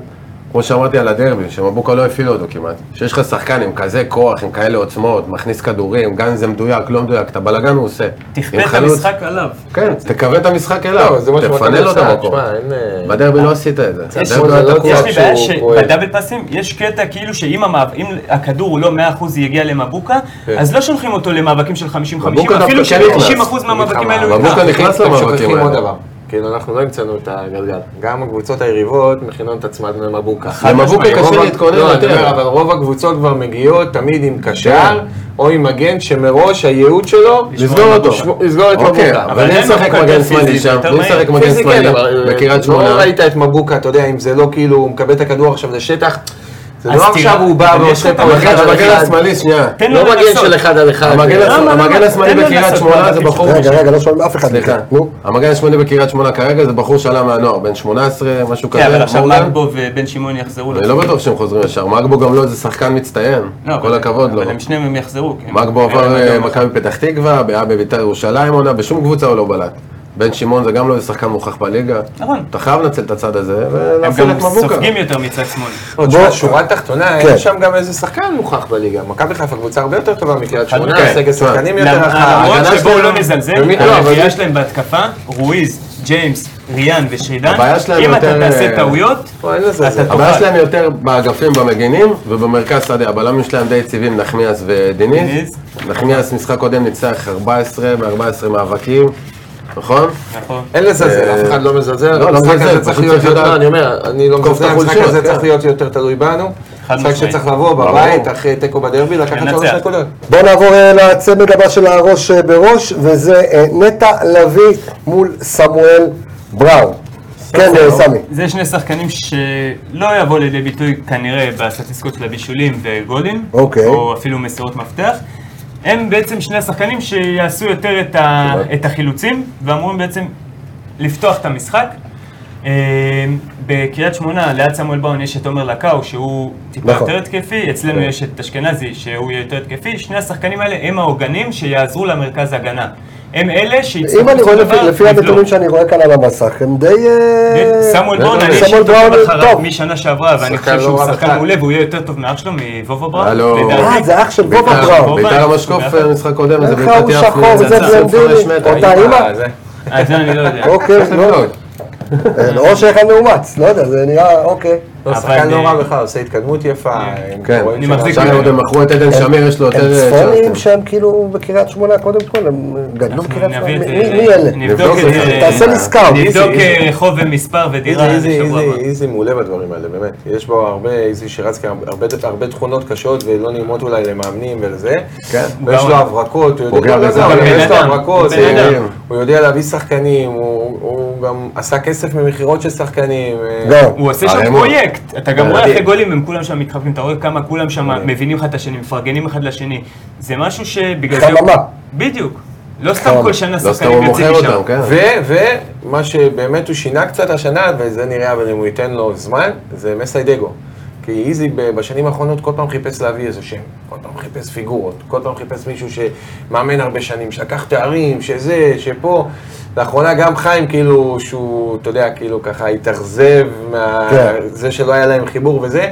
כמו שאמרתי על הדרבי, שמבוקה לא הפעיל אותו כמעט. שיש לך שחקן עם כזה כוח, עם כאלה עוצמות, מכניס כדורים, גם אם זה מדויק, לא מדויק, את הבלאגן הוא עושה. עם
תכפה את
חלוץ-
המשחק עליו.
כן, תכוון את המשחק
לא,
אליו,
זה מה שמכבי
תפנה לו את
עושה,
המקום.
תשמע, אין, אה,
בדרבי לא עשית את זה.
יש-
בדרבי
זה
היה
לא
תקוע.
יש לי בעיה
שהוא פועל.
שבדאבל פאסים יש קטע כאילו שאם המאב- אם הכדור הוא לא 100% יגיע למבוקה,
כן.
אז לא שולחים אותו למאבקים של 50-50,
מבוקה
אפילו
דווקא כן נכנס.
ש-90% מהמאבקים האלו הוא
מבוקה
ייקח.
נכנס למאבקים
אתם שוכחים כן, עוד
האלה.
דבר. כאילו, אנחנו לא המצאנו את הגלגל. גם הקבוצות היריבות מכינות את עצמן למבוקה.
למבוקה
רוב
קשה
ה-
להתכונן
לא, אני אומר,
יותר.
אבל רוב הקבוצות כבר מגיעות תמיד עם קשר,
כן.
או עם מגן שמראש הייעוד שלו,
לסגור אותו.
לשמור- לסגור את
אוקיי,
מבוקה.
אבל מי
עדיין
משחק
מבוקה
מגן
יותר
שמאלי
פיזי,
שם?
יותר
מי
מהיר.
משחק מגן
פיזי כן,
שמאלי
אבל
בקריית
לא
שמונה?
ראית את מבוקה, אתה יודע, אם זה לא כאילו, הוא מקבל את הכדור עכשיו לשטח, זה
אז
לא
תראה,
עכשיו הוא בא
אבל יש
ועושה
לך
פה
מגן-
אחד
המגן
על
המגן
אחד.
השמאלי, שנייה.
תן לו
לא מגן
לנסות.
של אחד על אחד.
המגן
זה-
הש-
למה, למה?
המגן השמאלי
תן לו
בקריית
לעשות
שמונה זה
מאבקים.
בחור...
רגע, רגע, לא שואלים אף אחד.
סליחה,
נו.
המגן השמאלי בקריית שמונה כרגע זה בחור שעלה מהנוער, בן 18, משהו כזה.
כן, אבל עכשיו
מורלן.
מגבו ובן שמעון יחזרו
אני לא בטוח שהם חוזרים ישר, מגבו גם לא איזה שחקן מצטיין,
לא,
כל
אבל-
הכבוד לו.
אבל הם שניהם הם יחזרו. כן. כי הם-
מגבו עבר
הם-
אה, מכבי פתח תקווה, בעיה בביתר ירושלים עונה, בשום קבוצה הוא לא בלט. בן שמעון זה גם לא איזה שחקן מוכח בליגה.
נכון.
אתה חייב לנצל את הצד הזה
הם
ולהפעיל
גם
את מבוקה.
סופגים יותר מצד שמאל.
לא,
בוא-
תשמע, שורה תחתונה,
כן.
אין שם גם איזה שחקן מוכח בליגה. מכבי חיפה קבוצה הרבה יותר טובה מקריית שמונה,
כן,
סגל
תשמע,
שחקנים יותר
למרות
רחב.
שבואו לא
ומי-
נזלזל,
לא, אבל
הרביעייה
יש-
שלהם בהתקפה, רואיז, ג'יימס, ריאן ושרידן,
הבעיה שלהם
אם אתה
יותר,
תעשה
אה,
טעויות,
וואי, אין לזה
אתה
זה.
הבעיה
תאכל.
שלהם יותר באגפים במגינים ובמרכז שדה. הבלמים שלהם די יציבים, נחמיאס ודיניס.
דיניס.
נחמיאס משחק קודם ניצח 14 מ-14 מאבקים, נכון?
נכון.
אין לזלזל,
אה,
אף אחד לא מזלזל.
לא, לא
המשחק
מזלזל,
הזה צריך
פשוט
להיות
צריך לדעת.
יותר, אני אומר, אני לא
לתקוף
מזלזל,
את
המשחק
החולשות,
הזה
כן.
צריך להיות יותר תלוי בנו.
חד
משחק
משמעית.
שצריך לבוא
ברור.
בבית, אחרי תיקו בדרבי, לקחת שלוש
לנצח.
נקודות.
בואו נעבור אה, לצמד הבא של הראש אה, בראש, וזה אה, נטע לביא מול סמואל בראון. כן, אה, סמי.
זה שני שחקנים שלא יבוא לידי ביטוי כנראה בסטטיסטיקות של הבישולים וגולים,
אוקיי.
או אפילו מסירות מפתח. הם בעצם שני השחקנים שיעשו יותר את, ה...
אוקיי.
את החילוצים, ואמורים בעצם לפתוח את המשחק. אה, בקריית שמונה, ליד סמואל באון יש את עומר לקאו, שהוא טיפה
נכון.
יותר התקפי, אצלנו יש את אשכנזי, שהוא יהיה יותר התקפי. שני השחקנים האלה הם העוגנים שיעזרו למרכז הגנה. הם אלה שיצטרכו
אם אני רואה לפי-
בסופו של דבר
לפי הנתונים
לבלום.
שאני רואה כאן על המסך, הם די... אה,
סמואל בראון, אני
סמואל
אישית
בראון,
עוקב אחריו
טוב.
משנה שעברה, ואני
שחקן
חושב שהוא
לא רע
שחקן
בכלל.
מעולה, והוא יהיה יותר טוב מאח שלו, מבובה בראון.
הלו.
לדעתי.
אה, זה אח של בובה
ביתר-
בראון.
ביתר המשקוף אה, משחק קודם, איזה
איך ההוא
בלתי
שחור, זה בלונדיני? אותה אימא?
אה, זה.
אה, זה אני לא יודע.
אוקיי, לא. אה, או שאחד מאומץ, לא יודע, זה נראה, אוקיי.
לא,
אבל,
שחקן לא
אה,
רע בכלל, עושה התקדמות יפה. עם
כן,
גורם
אני
שלו.
מחזיק
עכשיו הם עוד הם מכרו את עדן שמיר, יש לו
הם
יותר... אה,
צפונים
צ'אנסים.
שהם כאילו בקריית שמונה קודם כל, הם גדלו בקריית שמונה.
נביא את זה-
מי מי אלה? אוקיי,
נבדוק את זה.
תעשה לי סקאוט.
נבדוק
איזי,
אה, חוב ומספר ודירה
איזי, איזי,
לשבוע הבא.
איזי, איזי מעולה בדברים האלה, באמת. יש בו הרבה, איזי שרצקי, הרבה, הרבה תכונות קשות ולא נעימות אולי למאמנים ולזה.
כן.
ויש
גם-
לו הברקות, הוא
פוגע
יודע, לא זה,
בזה.
אבל
בן
יש לו
אדם,
הברקות,
בן
אה,
אדם.
הוא יודע להביא שחקנים, הוא- הוא גם עשה כסף ממכירות של שחקנים. אה,
לא.
הוא עושה שם
הרי הוא-
פרויקט, אתה גם רואה
מדהים.
אחרי גולים, הם כולם שם מתחבקים, אתה רואה כמה כולם שם מבינים אחד את השני, מפרגנים אחד לשני. זה משהו שבגלל זה...
חממה.
בדיוק. לא סתם כל שנה
לא סתם
שחקנים
הוא
יוצאים
מוכר
משם.
אותם, כן.
ו- ומה שבאמת הוא שינה קצת השנה, וזה נראה, אבל אם הוא ייתן לו זמן, זה מסיידגו. כי איזי ב- בשנים האחרונות כל פעם חיפש להביא איזה שם, כל פעם חיפש פיגורות, כל פעם חיפש מישהו שמאמן הרבה שנים, שלקח תארים, שזה, שפה. לאחרונה גם חיים, כאילו, שהוא, אתה יודע, כאילו ככה התאכזב מה...
כן.
זה שלא היה להם חיבור וזה.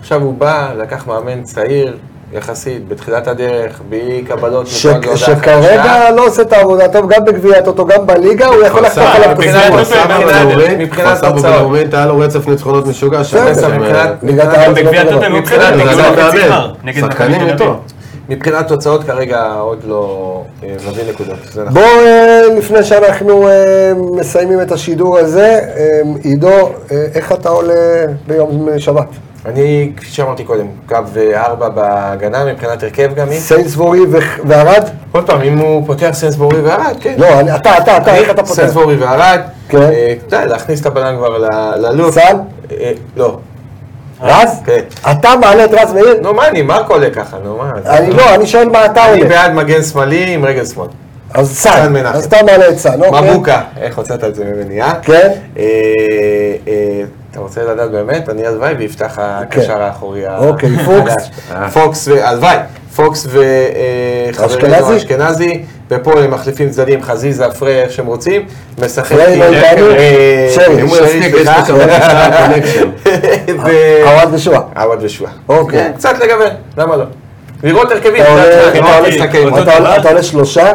עכשיו הוא בא, לקח מאמן צעיר, יחסית, בתחילת הדרך, בלי קבלות.
ש-
מפה עד להודעה חדשה.
שכרגע לא עושה את העבודה טוב, גם בגביע הטוטו, גם בליגה, הוא יכול לחתוך
סבא,
עליו את
מבחינת-
הסיפור.
כפר סבא
מבחינת-
ולאומית,
מבחינת
כפר סבא
תוצאות.
ולאומית, היה לו רצף ניצחונות משוגע שם.
בסדר,
בעצם,
מבחינת-
אה,
ליגת העל זה
בגביע
לא
הטוטו
דבר.
הם לא
מבחינת-
בסדר,
זה
זה
עדיין
חצי
מאמן.
גמר. נגד מכבי
שחקנים
תל אביב.
איתו.
מבחינת תוצאות כרגע עוד לא אה, מביא נקודות, זה נכון.
בואו, אה, לפני שאנחנו אה, מסיימים את השידור הזה, אה, עידו, אה, איך אתה עולה ביום שבת?
אני, כפי שאמרתי קודם, קו אה, ארבע בהגנה מבחינת הרכב גם היא.
סיינסבורי ו- וערד?
עוד פעם, אם הוא פותח סנסבורי וערד, כן.
לא, אני- אתה, אתה, אתה, איך אתה פותח?
סנסבורי וערד,
כן.
אה, אתה יודע, להכניס את הבלם כבר ל- ללופ.
סל?
אה, לא.
רז?
כן.
אתה מעלה את רז מאיר?
נו, מה אני, מרקו עולה ככה, נו, מה?
אני לא, אני שואל מה אתה
אני
עולה.
בעד מגן שמאלי עם רגל שמאל.
אז
סן
סן,
מנחם.
אז אתה מעלה את סן, אוקיי.
מבוקה, איך הוצאת את זה ממני, אה?
כן.
אה, אה, אתה רוצה לדעת באמת? אני הלוואי ויפתח הקשר האחורי. ה-
אוקיי, פוקס.
החדש. פוקס, ו- הלוואי. פוקס וחברנו
אשכנזי?
לא, אשכנזי, ופה הם מחליפים צדדים, חזיזה, פריי, איך שהם רוצים, משחק
פריי לא
עם-
איתנו?
אה,
שרי.
אם הוא יספיק, יש לו שם קונקשן.
ו-
עווד ושועה.
עווד ושועה.
אה, אוקיי.
כן, קצת לגוון, למה לא? לראות הרכבים, אוקיי.
אתה עולה-
אתה
אתה
יודע,
עולה-
משחק.
אותו
אתה עולה-
דבר?
אתה עולה שלושה,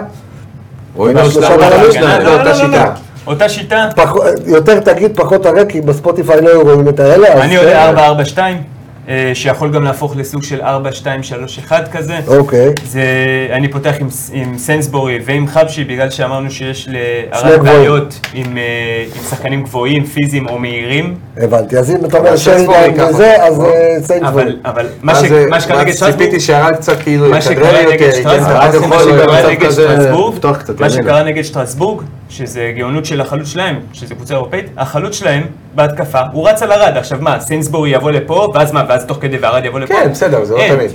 הוא עם
ממש
שלושה
שלושה
בלמים.
בלמים.
הגנה,
לא,
לא,
אותה
לא, לא,
שיטה.
לא. אותה שיטה,
פח- יותר תגיד פחות הרי, כי בספוטיפיי לא היו רואים את האלה. אז-
אני עולה 442, אה, שיכול גם להפוך לסוג של 4231 כזה.
אוקיי.
זה, אני פותח עם, ס- עם סנסבורי ועם חבשי, בגלל שאמרנו שיש
שני
להרג
גבוהים.
בעיות עם, אה, עם שחקנים גבוהים, פיזיים או מהירים,
הבנתי, אז אם אתה אומר
אבל סנסבורי
שרידן
ככה.
וזה, אז
לא?
אה, סיינסבורי.
אבל, אבל מה, ש,
אז, אה,
מה שקרה נגד
ואז
שטרסבורג,
ציפיתי שהרג קצת כאילו,
מה
יתאדרר
שקרה נגד
יותר, כן, ייתן את
אז
שטרסבורג,
יכול
מה
הפס שלו,
להיות
שקרה
במצב
נגד
כזה
שטרסבורג,
לפתוח קצת
מה
ימינה.
שקרה נגד שטרסבורג, שזה גאונות של החלוץ שלהם, שזה קבוצה אירופאית, החלוץ שלהם בהתקפה, הוא רץ על ארד, עכשיו מה, סנסבורי יבוא לפה, ואז מה, ואז תוך כדי והרד יבוא לפה?
כן, בסדר, זה לא
אין.
תמיד.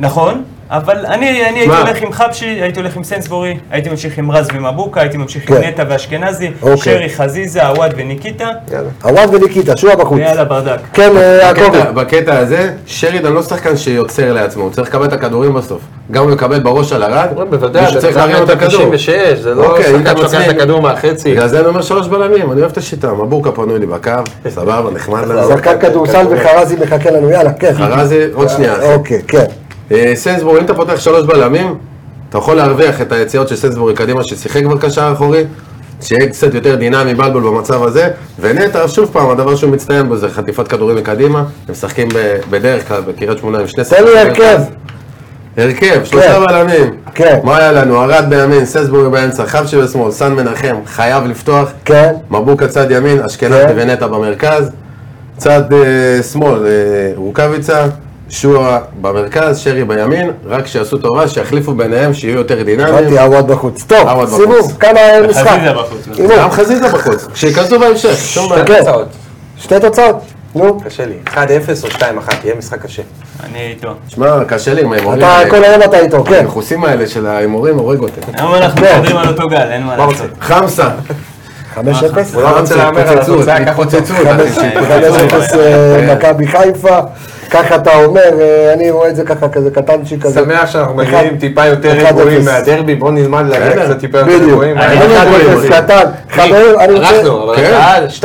נכון, אבל אני אני הייתי
שמע.
הולך עם חבשי, הייתי הולך עם סנסבורי, הייתי ממשיך עם רז ומבוקה, הייתי ממשיך עם
כן.
נטע ואשכנזי,
אוקיי.
שרי, חזיזה, עווד וניקיטה,
יאללה.
עווד וניקיטה, שועה בחוץ.
ויאללה ברדק.
כן, אה, יעקבי.
בקטע- בקטע הזה, שרידן לא שחקן שיוצר לעצמו, הוא צריך לקבל את הכדורים בסוף. גם הוא מקבל בראש על הרד,
אומרים, בוודאי,
מישהו צריך
בן אדם
להרים את
בן
הכדור.
96, זה לא
אוקיי, אם
שחקן כן.
אתה
שלוקח את
מצמיד-
הכדור מהחצי.
בגלל זה אני אומר שלוש בלמים, אני אוהב את השיטה, מבורקה פנוי לי בקו, סבבה, נחמד לנו.
זרקן כדורסל וחרזי מחכה לנו, יאללה, כן.
חרזי, עוד שנייה. אחי.
אוקיי, כן.
אה, סנסבורי, אם אתה פותח שלוש בלמים, אתה יכול להרוויח את היציאות של סנסבורי קדימה ששיחק כבר קשר אחורי, שיהיה קצת יותר דינמי בלבול במצב הזה, ונטע, שוב פעם, הדבר שהוא מצטיין בו זה חטיפת כדורים מקדימה, הם משחקים ב- בדרך כלל בקריית שמונה עם שני
תן לי הרכב.
הרכב, שלושה בלמים.
כן.
מה היה לנו? ארד בימין, ססבורי באמצע, חבשי בשמאל, סן מנחם, חייב לפתוח.
כן.
מבוקה צד ימין, אשכנזי
כן.
ונטע במרכז. צד אה, שמאל, אה, רוקאביצה, שועה במרכז, שרי בימין, רק שיעשו טובה, שיחליפו ביניהם, שיהיו יותר דינמיים.
הבנתי, עווד בחוץ. טוב,
עווד
סיבוב, אה,
בחוץ.
כאן המשחק.
חזיזה בחוץ.
הימור.
גם חזיזה בחוץ, שייכנסו בהמשך, שום בעיה.
כן.
תוצאות.
שתי תוצאות. נו,
קשה לי. 1-0 או 2-1, יהיה משחק קשה.
אני איתו.
שמע, קשה לי עם ההימורים
אתה
האלה.
כל היום אתה איתו, כן.
המכוסים האלה של ההימורים הורג אותי.
היום אנחנו
כן.
מדברים על אותו גל, אין מה
מה
לעשות.
לא רוצה?
חמסה.
5-0?
הוא לא רוצה להמר על
התפוצצות,
התוצאה, קח אותו.
התפוצצות, אנשים.
5-0 אה, מכבי חיפה. ככה אתה אומר, אה, אני רואה את זה ככה, כזה קטנצ'יק כזה.
שמח שאנחנו
אחד-
מגיעים טיפה
1-0.
יותר רגועים מהדרבי, בואו נלמד להגיע
בסדר.
קצת טיפה יותר
בדיוק.
רגועים.
אני
אני
לא
אחד
יודע,
רואה.
קטן. חברים, אני רוצה...
אנחנו, אבל
כן.
הקהל 2-0,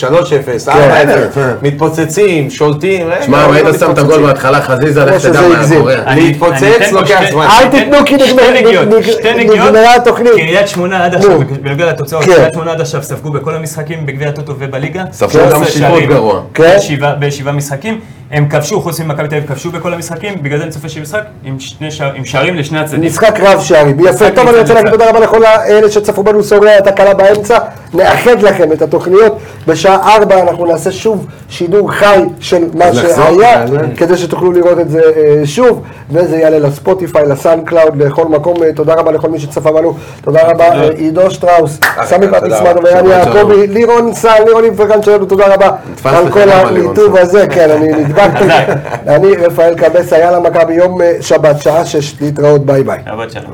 3-0, 4-0,
בסדר.
מתפוצצים, שולטים, רגע,
שמע,
אה,
לא
אם היית שם את הגול
מתפוצצים.
בהתחלה, חזיזה, לך
שזה
תדע מה היה
הגזים.
קורה.
אני- אני
להתפוצץ
אתן פה
לוקח
שתי-
זמן.
אל
שתי-
תיתנו, כי
שתי
נגמר-
נגיעות,
נג-
שתי
נג-
נגיעות.
נגמרה התוכנית.
קריית שמונה עד
נו.
עכשיו, בגלל התוצאות,
כן.
קריית שמונה עד עכשיו ספגו בכל המשחקים בגביע הטוטו ובליגה.
ספגו גם
13
שיפוט
שערים.
גרוע.
כן.
בשבעה- בשבעה משחקים, הם כבשו, חוץ ממכבי תל אביב, כבשו בכל המשחקים, בגלל זה אני צופה שיהיה משחק עם שני שער- עם שערים לשני הצדדים.
משחק רב שערים, יפה,
משחק
טוב אני רוצה
ניצן
להגיד
ניצן.
תודה רבה לכל אלה שצפו בנו סוגרי התקלה באמצע, נאחד לכם את התוכניות, בשעה ארבע אנחנו נעשה שוב שידור חי של מה
נחזור,
שהיה,
נעלם.
כדי שתוכלו לראות את זה אה, שוב, וזה יעלה לספוטיפיי, לסאונד קלאוד, לכל מקום, אה, תודה רבה לכל מי שצפה בנו, תודה רבה אה, עידו שטראוס, סמי
תודה
פפיסמן
רבה.
ויאן
שבת שלום.
יעקבי, לירון סל, לירון איפרגן שלנו, תודה רבה
נתפס
על
לך
כל
גם על לירון
הניתוב
סל.
הזה, כן, אני נדבקתי,
חזק.
אני רפאל קבסה, יאללה מכבי, יום אה, שבת, שעה שש, להתראות, ביי ביי.
שבת שלום.